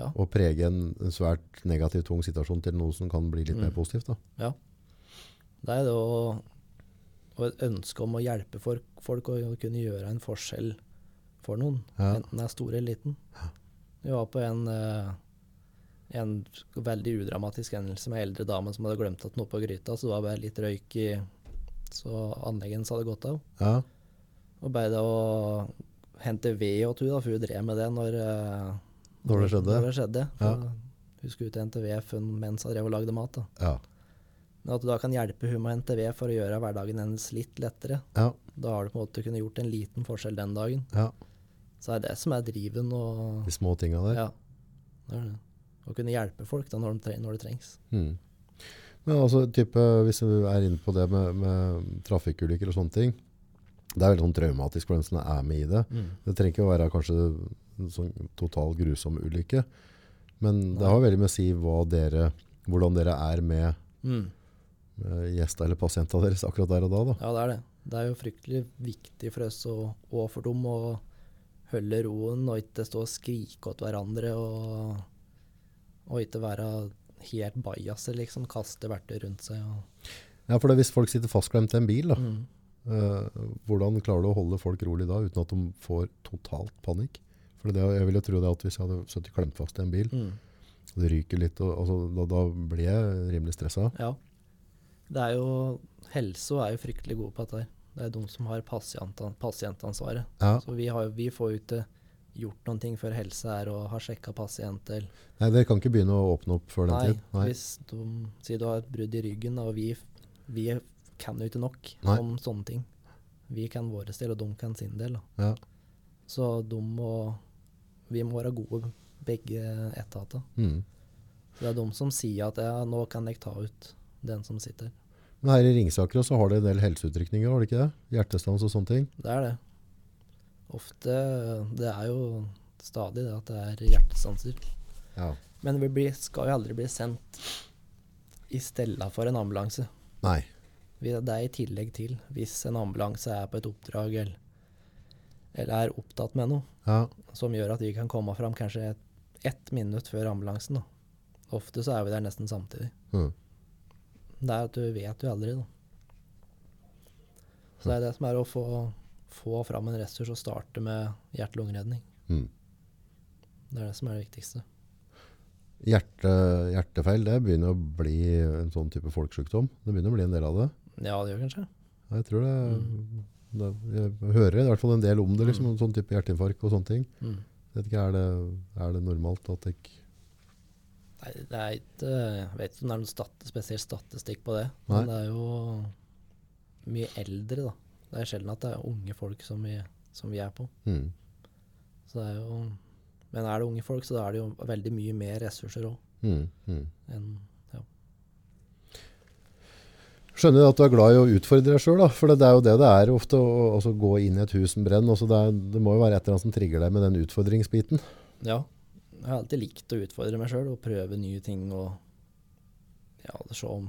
S2: Ja.
S1: å prege en, en svært negativ, tung situasjon til noe som kan bli litt mer
S2: Mm.
S1: positivt. Da.
S2: Det er det å, og et ønske om å hjelpe folk, folk og å kunne gjøre en forskjell for noen.
S1: Ja.
S2: Enten det er stor eller liten. Vi var på en, eh, en veldig udramatisk hendelse med ei eldre dame som hadde glemt at noe på gryta, så det var bare litt røyk i Så anlegget hennes hadde gått av.
S1: Ja.
S2: Og bare det å hente ved og tu, da, for hun drev med det når, eh,
S1: Når det skjedde.
S2: Når det skjedde.
S1: Ja.
S2: For Hun skulle ut og hente ved fun- mens hun drev og lagde mat. da.
S1: Ja.
S2: Men at du da kan hjelpe hun med NTV for å gjøre hverdagen hennes litt lettere.
S1: Ja.
S2: Da har du på en måte kunnet gjort en liten forskjell den dagen.
S1: ja.
S2: Så er det som er driven og
S1: De små tinga der.
S2: Ja. Det er det. Å kunne hjelpe folk da når, de tre når det trengs.
S1: Mm. Men altså, type, hvis du er inne på det med, med Mm. trafikkulykker og sånne ting, det er veldig sånn traumatisk for den som er med i det. Det trenger ikke å være kanskje en sånn total grusom ulykke. Men det har veldig med å si hva dere, hvordan dere er med
S2: Mm.
S1: eh, gjesta eller pasienta deres akkurat der og da. da.
S2: Ja, det er det. Det er jo fryktelig viktig for oss og, og for dem å holde roen og ikke stå og skrike åt hverandre og, og ikke være helt bajaser, liksom. Kaste verktøy rundt seg. Og,
S1: Ja, for det, Hvis folk sitter fastklemt i en bil, da,
S2: mm.
S1: eh, hvordan klarer du å holde folk rolig da uten at de får totalt panikk? For det, Jeg vil jo tro det at hvis jeg hadde sittet klemt fast i en bil,
S2: Mm.
S1: og det ryker litt, og, altså, da, da blir jeg rimelig stressa.
S2: Ja. Det er jo Helse er jo fryktelig gode på dette her. Det er de som har pasientan- pasientansvaret.
S1: Ja.
S2: Så vi, har, jo- vi får jo ikke gjort noen ting før helse er og har sjekka pasienter.
S1: Nei, Dere kan ikke begynne å åpne opp før den
S2: Nei,
S1: tid? Nei.
S2: hvis du sier du har et brudd i ryggen, da, og vi, vi kan jo ikke nok
S1: Nei.
S2: om sånne ting. Vi kan vår del, og de kan sin del. Da.
S1: Ja.
S2: Så de må Vi må være gode, begge etater.
S1: Mm.
S2: Det er de som sier at ja, 'nå kan jeg ta ut den som sitter'.
S1: Men her i Ringsaker også har det en del helseutrykninger, har det ikke det? Hjertestans og sånne ting.
S2: Det er det. Ofte Det er jo stadig det at det er hjertestanser.
S1: Ja.
S2: Men vi blir, skal jo aldri bli sendt i stedet for en ambulanse.
S1: Nei.
S2: Vi- Det er i tillegg til hvis en ambulanse er på et oppdrag eller, eller er opptatt med noe
S1: Ja.
S2: som gjør at vi kan komme fram kanskje et, ett minutt før ambulansen. Da. Ofte så er vi der nesten samtidig.
S1: Mm.
S2: Det er at du vet jo aldri, da. Så det er det som er å få, få fram en ressurs og starte med hjerte-lungeredning.
S1: Mm.
S2: Det er det som er det viktigste.
S1: Hjerte, hjertefeil det begynner å bli en sånn type folkesykdom. Det begynner å bli en del av det.
S2: Ja, det gjør kanskje.
S1: Jeg tror det, det Jeg hører i hvert fall en del om det, liksom, en sånn type hjerteinfarkt og sånne ting.
S2: Mm.
S1: Jeg vet ikke, er det, er det normalt at jeg
S2: Nei, det er ikke Jeg vet ikke om det er noen stat, spesiell statistikk på det. Men
S1: Nei.
S2: det er jo mye eldre, da. Det er sjelden at det er unge folk som vi, som vi er på.
S1: mm.
S2: Så det er jo Men er det unge folk, så da er det jo veldig mye mer ressurser òg.
S1: Mm. Mm.
S2: Ja.
S1: Skjønner at du er glad i å utfordre deg sjøl, for det er jo det det er ofte. Å altså, gå inn i et hus som brenner. Altså, det, er, det må jo være et eller annet som trigger deg med den utfordringsbiten.
S2: ja. Jeg har alltid likt å utfordre meg sjøl og prøve nye ting og ja, se om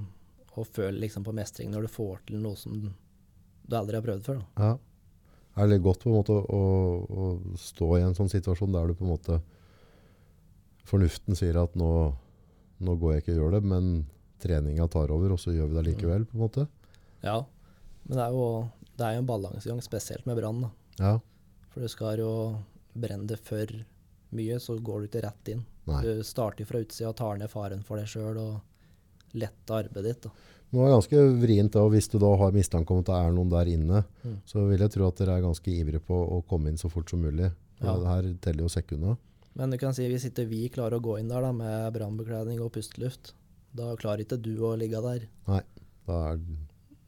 S2: Og føle liksom på mestring når du får til noe som du aldri har prøvd før. da.
S1: Ja. Er det godt på en måte å, å stå i en sånn situasjon der du på en måte Fornuften sier at nå, nå går jeg ikke og gjør det, men treninga tar over, og så gjør vi det likevel, på en måte.
S2: Ja. Men det er jo, det er jo en balansegang, spesielt med brann. da.
S1: Ja.
S2: For du skal jo brenne det for mye, så går du ikke rett inn.
S1: Nei.
S2: Du starter fra utsida og tar ned faren for deg sjøl og letter arbeidet ditt. Da.
S1: Det var ganske vrient da, og hvis du da har mistanke om at det er noen der inne,
S2: Mm.
S1: så vil jeg tro at dere er ganske ivrige på å komme inn så fort som mulig.
S2: Ja.
S1: For Det her teller jo sekundene.
S2: Men du kan si hvis ikke vi klarer å gå inn der da, med brannbekledning og pusteluft, da klarer ikke du å ligge der.
S1: Da er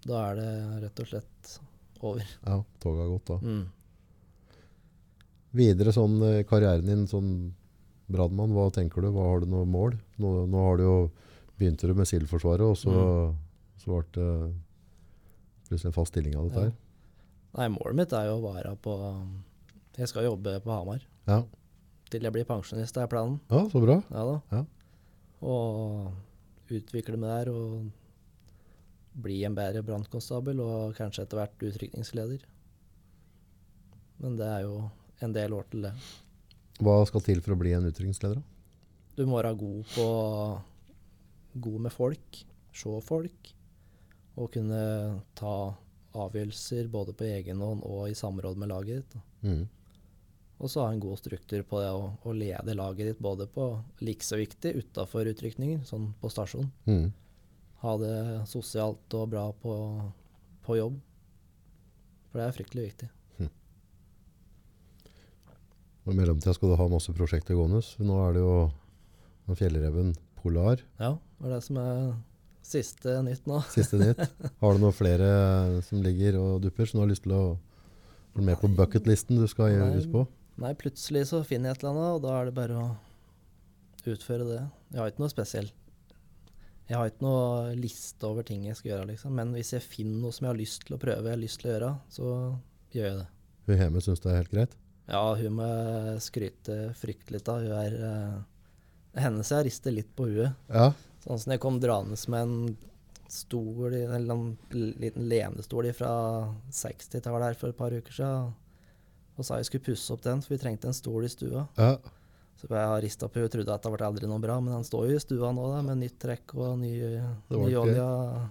S2: Da er det rett og slett over.
S1: ja, toget gått da.
S2: Mm.
S1: Videre sånn eh, karrieren din, sånn brannmann, hva tenker du? Hva har du noe mål? Nå, nå har du jo, begynte du med Sildforsvaret, og så,
S2: Mm.
S1: så ble det plutselig en fast stilling av dette
S2: Ja.
S1: her.
S2: Nei, målet mitt er jo å være på Jeg skal jobbe på Hamar
S1: Ja.
S2: til jeg blir pensjonist, det er planen.
S1: ja, så bra.
S2: Ja da.
S1: Ja.
S2: Og utvikle meg der og bli en bedre brannkonstabel og kanskje etter hvert utrykningsleder. Men det er jo en del år til det.
S1: Hva skal til for å bli en utrykningsleder? da?
S2: Du må være god på god med folk, se folk, og kunne ta avgjørelser både på egen hånd og i samråd med laget ditt. da.
S1: Mm.
S2: Og så ha en god struktur på det å, å lede laget ditt både på like så viktig utafor utrykninger, sånn på stasjon.
S1: Mm.
S2: ha det sosialt og bra på, på jobb. For det er fryktelig viktig.
S1: Og I mellomtida skal du ha masse prosjekter gående. så Nå er det jo nå er Fjellreven Polar,
S2: Ja, det er det som er siste nytt nå.
S1: siste nytt. Har du noen flere eh, som ligger og dupper som du har lyst til å være med på bucketlisten du skal gjøre
S2: Nei.
S1: ut på?
S2: Nei, plutselig så finner jeg et eller annet, og da er det bare å utføre det. Jeg har ikke noe spesielt. Jeg har ikke noe liste over ting jeg skal gjøre, liksom. Men hvis jeg finner noe som jeg har lyst til å prøve, jeg har lyst til å gjøre, så gjør jeg det.
S1: Hun hjemme syns det er helt greit.
S2: Ja, hun må jeg skryte fryktelig av. Hun er eh, Hennes jeg rister litt på huet.
S1: Ja,
S2: Sånn som jeg kom dragende med en stol, i- eller en liten lenestol fra 60-tallet her for et par uker siden, og sa jeg skulle pusse opp den, for vi trengte en stol i stua.
S1: ja.
S2: Så jeg rista på henne og trodde at det ble aldri noe bra, men den står jo i stua nå da, med nytt trekk og ny,
S1: Det var ikke-
S2: nyolja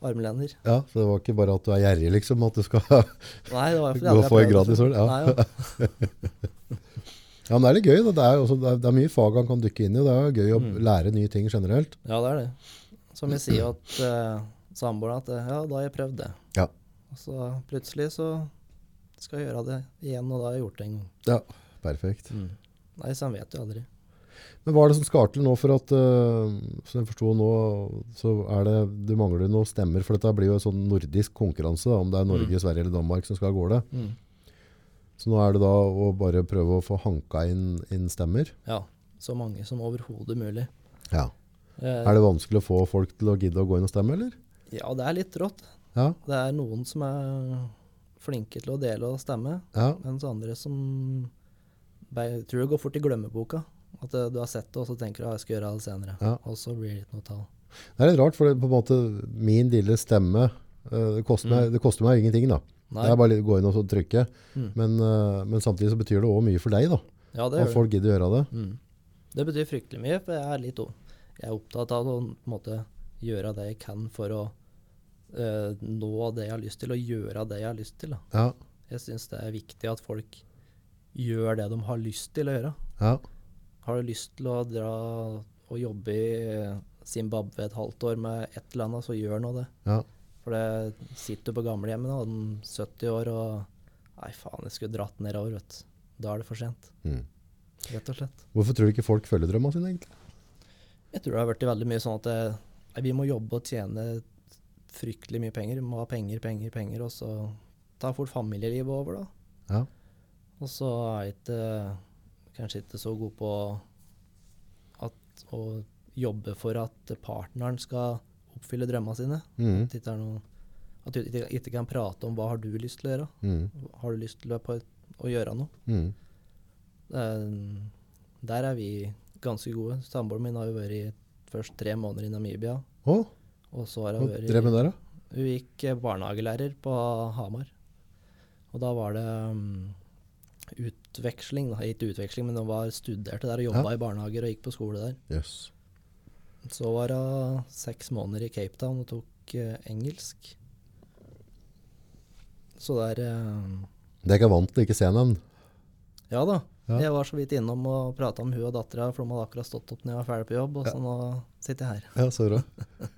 S2: armlener.
S1: ja så det var ikke bare at du er gjerrig, liksom, at du skal gå
S2: Nei, det var
S1: og
S2: fordi
S1: få en
S2: prøvd det
S1: gratis
S2: før.
S1: sol. Ja.
S2: Nei, ja.
S1: ja, men det er litt gøy. Da. Det, er, jo også, det, er, det er mye fag han kan dykke inn i, og det er jo gøy å
S2: Mm.
S1: lære nye ting generelt.
S2: ja, det er det. Som jeg sier at uh, samboeren at eh, ja, da har jeg prøvd det.
S1: Ja.
S2: Og så plutselig så skal jeg gjøre det igjen, og da har jeg gjort det en gang.
S1: Ja, perfekt.
S2: Mm. Nei, så han vet jo aldri.
S1: Men hva er det som skal til nå for at, øh, som jeg forstod nå, så er det, du mangler noe stemmer, for dette blir jo en sånn nordisk konkurranse, da, om det er Norge, Sverige eller Danmark som skal av gårde. Så nå er det da å bare prøve å få hanka inn, inn stemmer.
S2: Ja, så mange som overhodet mulig.
S1: Ja.
S2: Eh,
S1: Er det vanskelig å få folk til å gidde å gå inn og stemme, eller?
S2: Ja, det er litt rått.
S1: Ja,
S2: Det er noen som er flinke til å dele og stemme,
S1: ja,
S2: mens andre som jeg tror det går fort i glemmeboka. At eh, du har sett det, og så tenker du at jeg skal gjøre det senere.
S1: ja.
S2: Og så blir det ikke noe tall.
S1: Det er litt rart, for det, er på en måte min lille stemme, øh, det koster, meg, det koster meg ingenting da.
S2: Mm. Nei.
S1: Det er bare å gå inn og så trykke.
S2: Mm.
S1: Men, øh, men samtidig så betyr det også mye for deg da,
S2: Ja, det
S1: at
S2: gjør det.
S1: folk gidder å gjøre det.
S2: Mm. Det betyr fryktelig mye, for jeg er litt om. Jeg er opptatt av å på en måte, gjøre det jeg kan for å eh, nå det jeg har lyst til, og gjøre det jeg har lyst til. Da.
S1: Ja,
S2: Jeg syns det er viktig at folk gjør det de har lyst til å gjøre.
S1: ja,
S2: Har du lyst til å dra og jobbe i Zimbabwe et halvt år med et eller annet, så gjør nå det.
S1: ja.
S2: For det sitter du på gamlehjemmet nå, om 70 år, og Nei, faen, jeg skulle dratt nedover, vet du. Da er det for sent,
S1: Mm.
S2: rett og slett.
S1: Hvorfor tror du ikke folk følger drømmene sine, egentlig?
S2: Jeg tror det har vært veldig mye sånn at det, nei, vi må jobbe og tjene fryktelig mye penger. Vi må ha penger, penger, penger, og så tar fort familielivet over, da.
S1: Ja.
S2: Og så er jeg ikke, eh, kanskje ikke så god på at, å jobbe for at partneren skal oppfylle drømmene sine.
S1: Mm.
S2: At, det ikke er noe, at du ikke, ikke kan prate om hva har du lyst til å gjøre.
S1: Mm.
S2: Har du lyst til å, på, å gjøre noe?
S1: Mm.
S2: Eh, Der er vi ganske gode. Samboeren min har jo vært i først tre måneder i Namibia.
S1: Å,
S2: Og så har
S1: hva
S2: hun
S1: drev
S2: vært
S1: med der da?
S2: Hun gikk eh, barnehagelærer på Hamar. Og da var det mm, utveksling, da. ikke utveksling, men hun var studerte der og jobba i barnehager og gikk på skole der.
S1: Jøss.
S2: Så var hun seks måneder i Cape Town og tok eh, engelsk. Så der eh,
S1: Det er ikke jeg vant til, ikke se navn.
S2: Ja da.
S1: Ja.
S2: Jeg var så vidt innom og prata om hun og dattera, for de hadde akkurat stått opp når jeg var ferdig på jobb, og
S1: Ja.
S2: så nå sitter jeg her.
S1: Ja, så bra.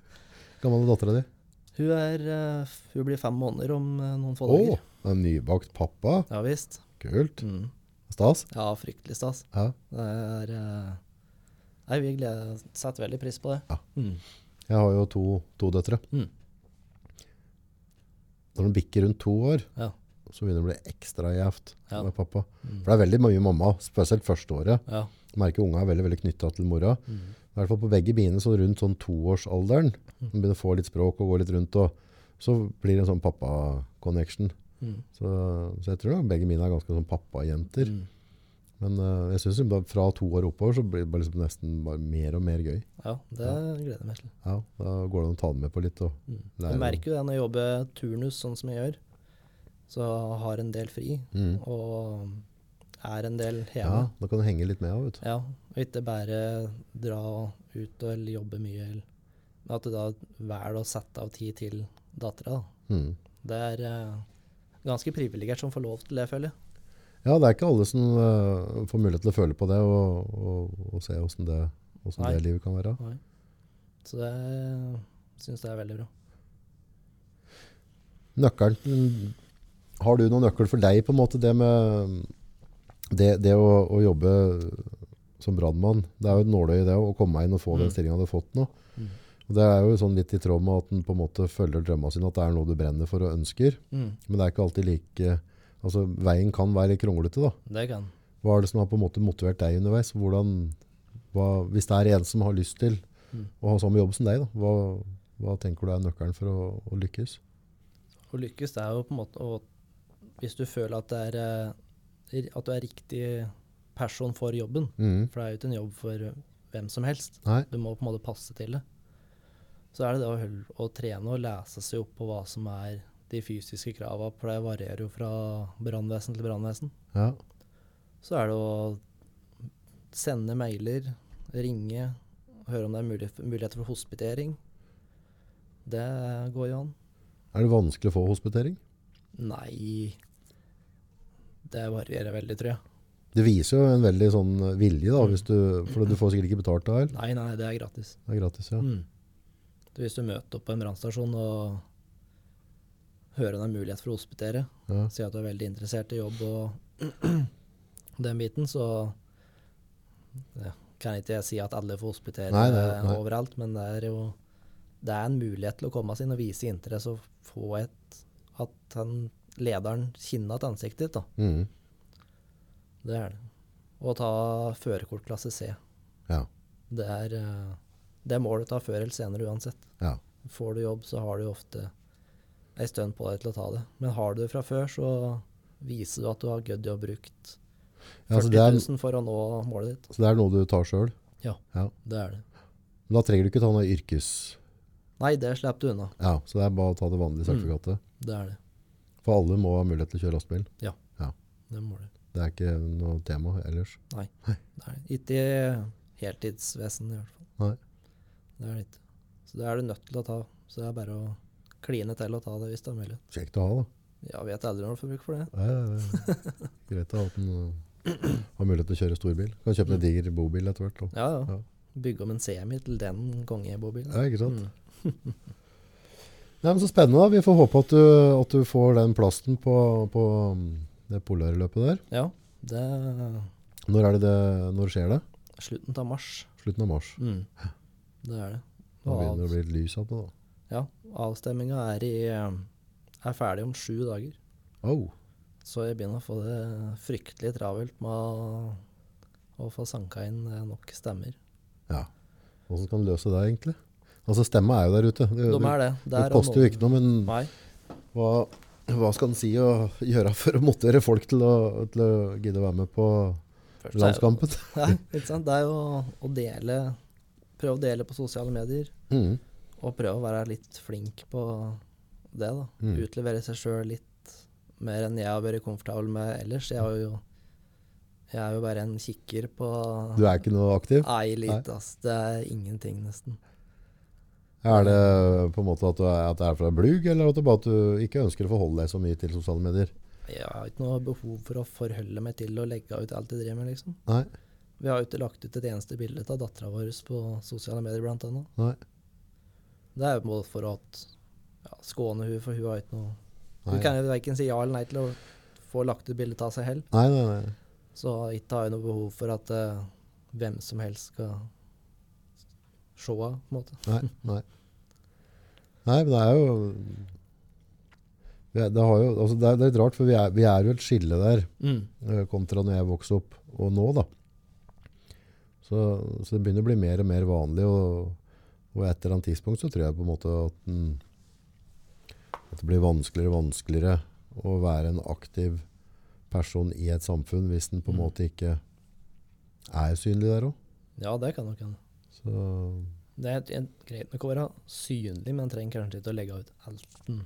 S1: Gammel er datteren din?
S2: Hun, er, eh, f- hun blir fem måneder om eh, noen få
S1: Å,
S2: dager.
S1: en nybakt pappa.
S2: Ja visst.
S1: Kult.
S2: Mm.
S1: Stas.
S2: Ja, fryktelig stas.
S1: Ja.
S2: Det er eh, Nei, vi gleder, setter veldig pris på det.
S1: Ja.
S2: Mm.
S1: Jeg har jo to, to døtre.
S2: Mm.
S1: Når de bikker rundt to år,
S2: Ja.
S1: så begynner det å bli ekstra gjevt
S2: Ja.
S1: med pappa.
S2: Mm.
S1: For det er veldig mye mamma, spesielt første året.
S2: ja.
S1: Merker unga er veldig, veldig knyttet til mora.
S2: Mm.
S1: I hvert fall på begge biene så rundt sånn toårsalderen. De begynner å få litt språk og gå litt rundt. Og så blir det en sånn pappa-connection.
S2: Mm.
S1: Så, så jeg tror nok begge mine er ganske sånn pappajenter.
S2: Mm.
S1: Men eh, jeg syns fra to år oppover så blir det bare liksom nesten bare mer og mer gøy.
S2: Ja, det gleder jeg meg til.
S1: Ja, da går det an å ta det med på litt. Og,
S2: Mm.
S1: lære
S2: Jeg
S1: dem.
S2: merker jo det når jeg jobber turnus sånn som jeg gjør, så har en del fri
S1: Mm.
S2: og er en del
S1: ja,
S2: hjemme.
S1: da kan du henge litt med òg, vet du.
S2: Ja. Og ikke bare dra ut og eller jobbe mye, eller men at du da velger å sette av tid til dattera. da.
S1: Mm.
S2: Det er eh, ganske privilegert som får lov til det, føler jeg.
S1: Ja, det er ikke alle som eh, får mulighet til å føle på det og, og, og se åssen det, hvordan
S2: Nei.
S1: det livet kan være.
S2: Nei. Så det syns jeg er veldig bra.
S1: Nøkkelen til Har du noen nøkkel for deg, på en måte, det med det, det å, å jobbe som brannmann? Det er jo et nåløye, det, å komme inn og få den
S2: Mm.
S1: stillinga du har fått nå.
S2: Mm.
S1: Og det er jo sånn litt i tråd med at en på en måte følger drømmene sine, at det er noe du brenner for og ønsker. Men det er ikke alltid like Altså, veien kan være litt kronglete, da.
S2: Det kan.
S1: Hva er det som har på en måte motivert deg underveis? Hvordan, hva, hvis det er en som har lyst til
S2: Mm.
S1: å ha samme jobb som deg, da, hva, hva tenker du er nøkkelen for å, å lykkes?
S2: Å lykkes det er jo på en måte å Hvis du føler at det er eh, at du er riktig person for jobben.
S1: Mm.
S2: For det er jo ikke en jobb for hvem som helst.
S1: Nei.
S2: Du må på en måte passe til det. Så er det det å, høl- å trene og lese seg opp på hva som er de fysiske krava, for det varierer jo fra brannvesen til brannvesen.
S1: Ja.
S2: Så er det å sende mailer, ringe, høre om det er mulig, muligheter for hospitering. Det går jo an.
S1: Er det vanskelig å få hospitering?
S2: Nei Det varierer veldig, tror jeg.
S1: Det viser jo en veldig sånn vilje, da, hvis du, for du får sikkert ikke betalt da, eller?
S2: Nei, nei, det er gratis.
S1: Det er gratis, ja.
S2: Mm. Så Hvis du møter opp på en brannstasjon og hører om det er mulighet for å hospitere,
S1: ja.
S2: sier at du er veldig interessert i jobb og den biten, så ja, kan ikke jeg si at alle får hospitere
S1: Nei, nei, nei.
S2: overalt, men det er jo det er en mulighet til å komme seg inn og vise interesse og få et, at han, lederen kjenner at ansiktet ditt. Da.
S1: Mm.
S2: Det er det. Og ta førerkort klasse C.
S1: Ja.
S2: Det, er, eh, det må du ta før eller senere uansett.
S1: Ja.
S2: Får du jobb, så har du jo ofte ei stund på deg til å ta det. Men har du det fra før, så viser du at du har gødd i å ha brukt 40
S1: Ja, så, det er,
S2: 000 for å nå målet ditt.
S1: så det er noe du tar sjøl?
S2: Det er det.
S1: Men da trenger du ikke ta noe yrkes...
S2: Nei, det slipper du unna.
S1: Ja, så det er bare å ta det vanlige
S2: Mm.
S1: sertifikatet.
S2: Det er det.
S1: For alle må ha mulighet til å kjøre lastebil.
S2: Det må du.
S1: Det er ikke noe tema ellers.
S2: Det er det. Ikke i heltidsvesenet i hvert fall.
S1: Nei.
S2: Det er det ikke. Så det er du nødt til å ta. Så det er bare å kline til og ta det hvis det er mulig.
S1: Kjekt å ha, da.
S2: Ja, vet aldri når du får bruk for det.
S1: Nei, det er greit å ha at en uh, har mulighet til å kjøre storbil. Kan kjøpe en diger bobil etter hvert. da.
S2: Ja, ja.
S1: Ja.
S2: Bygge om en semi til den kongebobilen.
S1: Ja, ikke sant?
S2: Mm.
S1: Nei, men Så spennende. da. Vi får håpe at du, at du får den plassen på, på um, det polarløpet der.
S2: Ja, det er
S1: Når, er det det, når skjer det?
S2: slutten av mars.
S1: Slutten av mars.
S2: Mm. Det er det.
S1: Da
S2: Og
S1: begynner det
S2: av,
S1: å bli litt lys av det. da.
S2: ja, avstemminga er, i, eh, er ferdig om sju dager.
S1: Oh,
S2: Så jeg begynner å få det fryktelig travelt med å, å få sanka inn eh, nok stemmer.
S1: ja. Hvordan skal en løse det, egentlig? Altså, Stemma er jo der ute. Det,
S2: De er det.
S1: det, det
S2: Der og
S1: koster jo
S2: nå.
S1: ikke noe, men
S2: Nei,
S1: hva, hva skal en si å gjøre for å motivere folk til å, til å gidde å være med på
S2: først så er det-
S1: landskampen?
S2: Nei, ikke sant. Det er jo å dele. Prøve å dele på sosiale medier.
S1: Mm.
S2: Og prøve å være litt flink på det, da.
S1: Mm.
S2: Utlevere seg sjøl litt mer enn jeg har vært komfortabel med ellers. Jeg, har jo, jeg er jo bare en kikker på
S1: Du er ikke noe aktiv?
S2: Nei, lite, ass. Det er ingenting, nesten.
S1: Er det på en måte at, du er, at det er fra blug, eller at du bare at du ikke ønsker å forholde deg så mye til sosiale medier?
S2: Jeg har ikke noe behov for å forholde meg til å legge ut alt jeg driver med, liksom.
S1: Nei,
S2: Vi har jo ikke lagt ut et eneste bilde av dattera vår på sosiale medier, blant annet.
S1: nei,
S2: Det er jo både for at ja, skåne hun, for hun har ikke noe Hun
S1: Nei.
S2: kan jo verken si ja eller nei til å få lagt ut bilde av seg selv.
S1: nei, nei, nei.
S2: Så ikke har jeg noe behov for at eh, hvem som helst skal se henne, på en måte.
S1: nei, nei. Nei, men det er jo det, det, har jo, altså det, er, det er litt rart, for vi er, vi er jo et skille der, eh, kontra når jeg vokste opp, og nå da. Så, så det begynner å bli mer og mer vanlig, og, og etter et tidspunkt så tror jeg på en måte at, den, at det blir vanskeligere og vanskeligere å være en aktiv person i et samfunn hvis den på en
S2: Mm.
S1: måte ikke er synlig der også.
S2: Ja, det kan nok hende.
S1: Så,
S2: Det er helt- helt greit nok å være synlig, men trenger kanskje ikke å legge ut alt en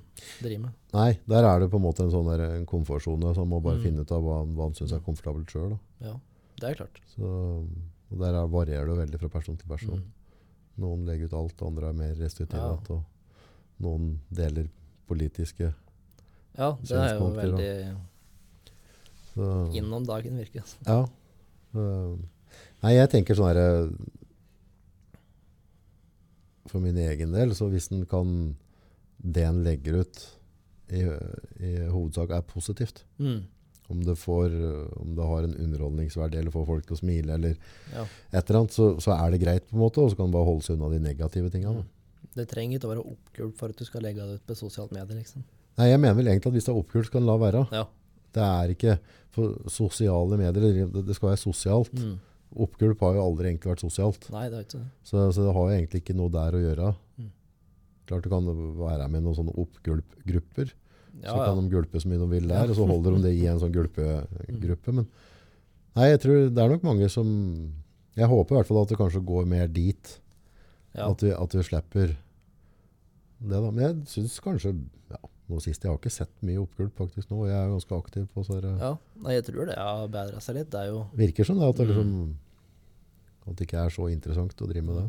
S2: driver med.
S1: nei, der er det på en måte en sånn der, en komfortzone som må bare
S2: Mm.
S1: finne ut av hva, han- hva han synes er komfortabelt selv. Da.
S2: Ja, det er klart.
S1: Så, og der er, varierer det veldig fra person til person.
S2: Mm.
S1: Noen legger ut alt, andre er mer
S2: Ja.
S1: restituerende. Og noen deler politiske.
S2: Ja, det er jo
S1: Synspunkter, da.
S2: veldig
S1: Så,
S2: innom dagen, virker det
S1: ja. Øh, Nei, jeg tenker sånn her For min egen del, så hvis en kan Det en legger ut, i, i hovedsak er positivt.
S2: Mm.
S1: Om det, får, øh, om det har en underholdningsverdi eller får folk til å smile, eller
S2: Ja.
S1: et eller annet, så, så er det greit, på en måte, og så kan en bare holde seg unna de negative tingene. da.
S2: Mm. Det trenger ikke å være oppkult for at du skal legge det ut på sosiale medier, liksom.
S1: Nei, jeg mener vel egentlig at hvis det er oppkult, så kan en la være.
S2: Ja.
S1: Det er ikke for sosiale medier. Det, det skal være sosialt.
S2: Mm.
S1: Oppgulp har jo aldri egentlig vært sosialt.
S2: Nei, det er ikke det.
S1: Så, så det har jo egentlig ikke noe der å gjøre.
S2: Mm.
S1: Klart du kan være med i noen sånne oppgulp-grupper,
S2: Ja,
S1: så
S2: ja.
S1: kan de gulpe så mye de vil der, og så holder de det i en sånn gulpegruppe. Men nei, jeg tror det er nok mange som Jeg håper i hvert fall at det kanskje går mer dit.
S2: Ja.
S1: At, vi, at vi slipper det, da. Men jeg syns kanskje ja, Nå sist Jeg har ikke sett mye oppgulp faktisk nå. og Jeg er jo ganske aktiv på sånne
S2: ja. Nei, jeg tror det har bedra seg litt. Det er jo
S1: Virker som det.
S2: Mm.
S1: At det, liksom, at det ikke er så interessant å drive med det.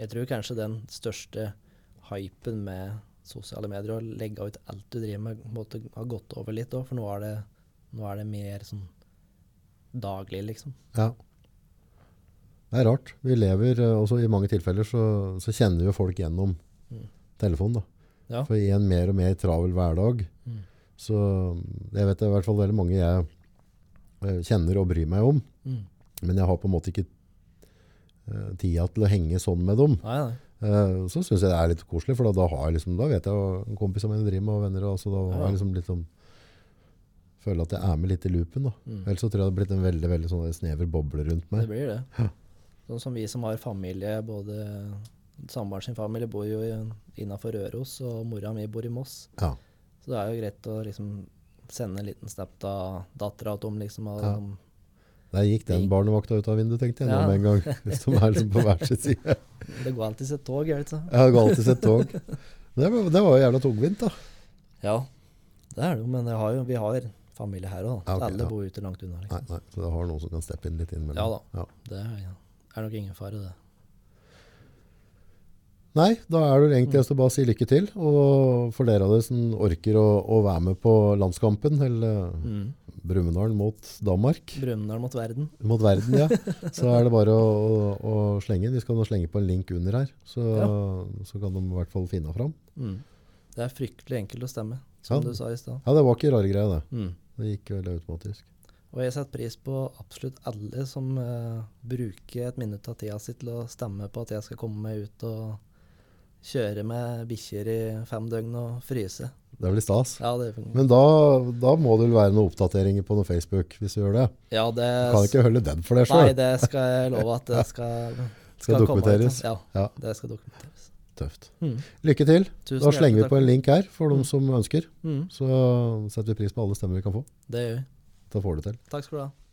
S2: Jeg tror kanskje den største hypen med sosiale medier, å legge ut alt du driver med, på en måte har gått over litt òg, for nå er, det, nå er det mer sånn daglig, liksom.
S1: Ja. Det er rart. Vi lever, eh, også i mange tilfeller, så, så kjenner vi jo folk gjennom
S2: Mm.
S1: telefonen. da.
S2: Ja.
S1: For i en mer og mer travel hverdag,
S2: Mm.
S1: så jeg vet det er i hvert fall veldig mange jeg eh, kjenner og bryr meg om,
S2: Mm.
S1: men jeg har på en måte ikke eh, tida til å henge sånn med dem.
S2: Nei, nei.
S1: Eh, Så synes jeg det er litt koselig, for da, da, har jeg liksom, da vet jeg hva en kompis som jeg driver med, og venner, og altså, da har
S2: Ja.
S1: jeg liksom litt sånn, føler at jeg er med litt i loopen. Da.
S2: Mm.
S1: Ellers så tror jeg det har blitt en veldig, veldig sånn der snever boble rundt
S2: Det
S1: meg.
S2: blir
S1: Ja.
S2: det. Sånn som vi som har familie, både samboeren sin familie bor jo innafor Røros, og mora mi bor i Moss.
S1: Ja.
S2: Så det er jo greit å liksom sende en liten snap av dattera til dem, liksom. Og,
S1: Ja. Der gikk den barnevakta ut av vinduet, tenkte jeg nå
S2: Ja.
S1: med en gang. Som er liksom på hver sin side.
S2: Det går alltid et tog, gjør det ikke?
S1: Jeg har jo alltid sett tog. Det var, det var jo jævla tungvint, da.
S2: Ja, det er det jo, men jeg har jo, vi har familie her òg.
S1: Ja, ok,
S2: Alle
S1: ja.
S2: bor jo ikke langt unna.
S1: Nei,
S2: Liksom.
S1: nei, så det har noen som kan steppe inn litt innimellom.
S2: Ja da.
S1: Ja.
S2: Det er, er nok ingen fare, det.
S1: Nei, da er det vel
S2: Mm.
S1: egentlig å bare si lykke til. Og for dere av dere som orker å, å være med på landskampen, eller
S2: Mm.
S1: Brumunddal mot Danmark,
S2: Brumunddal mot verden.
S1: mot verden, ja, så er det bare å, å, å slenge inn. Vi skal nå slenge på en link under her, så, så kan de i hvert fall finne fram.
S2: Mm. Det er fryktelig enkelt å stemme, som
S1: Ja.
S2: du sa i stad.
S1: Ja, det var ikke rare greier, det.
S2: Mm.
S1: Det gikk veldig automatisk.
S2: Og jeg setter pris på absolutt alle som eh, bruker et minutt av tida si til å stemme på at jeg skal komme meg ut og kjøre med bikkjer i fem døgn og fryse.
S1: Det blir stas.
S2: Ja, det,
S1: Men da, da må det vel være noen oppdateringer på noe Facebook hvis du gjør det.
S2: ja, det
S1: Du kan ikke holde den for deg
S2: Nei,
S1: sjøl.
S2: det skal jeg love at det skal,
S1: Skal
S2: komme ut.
S1: dokumenteres.
S2: Ja,
S1: Ja.
S2: det skal dokumenteres.
S1: Tøft.
S2: Mm.
S1: Lykke til.
S2: Tusen
S1: Da slenger
S2: hjertelig
S1: vi på
S2: takk.
S1: en link her for de som ønsker.
S2: Mm,
S1: Så setter vi pris på alle stemmer vi kan få.
S2: det gjør vi.
S1: Da får du til.
S2: Takk skal du ha.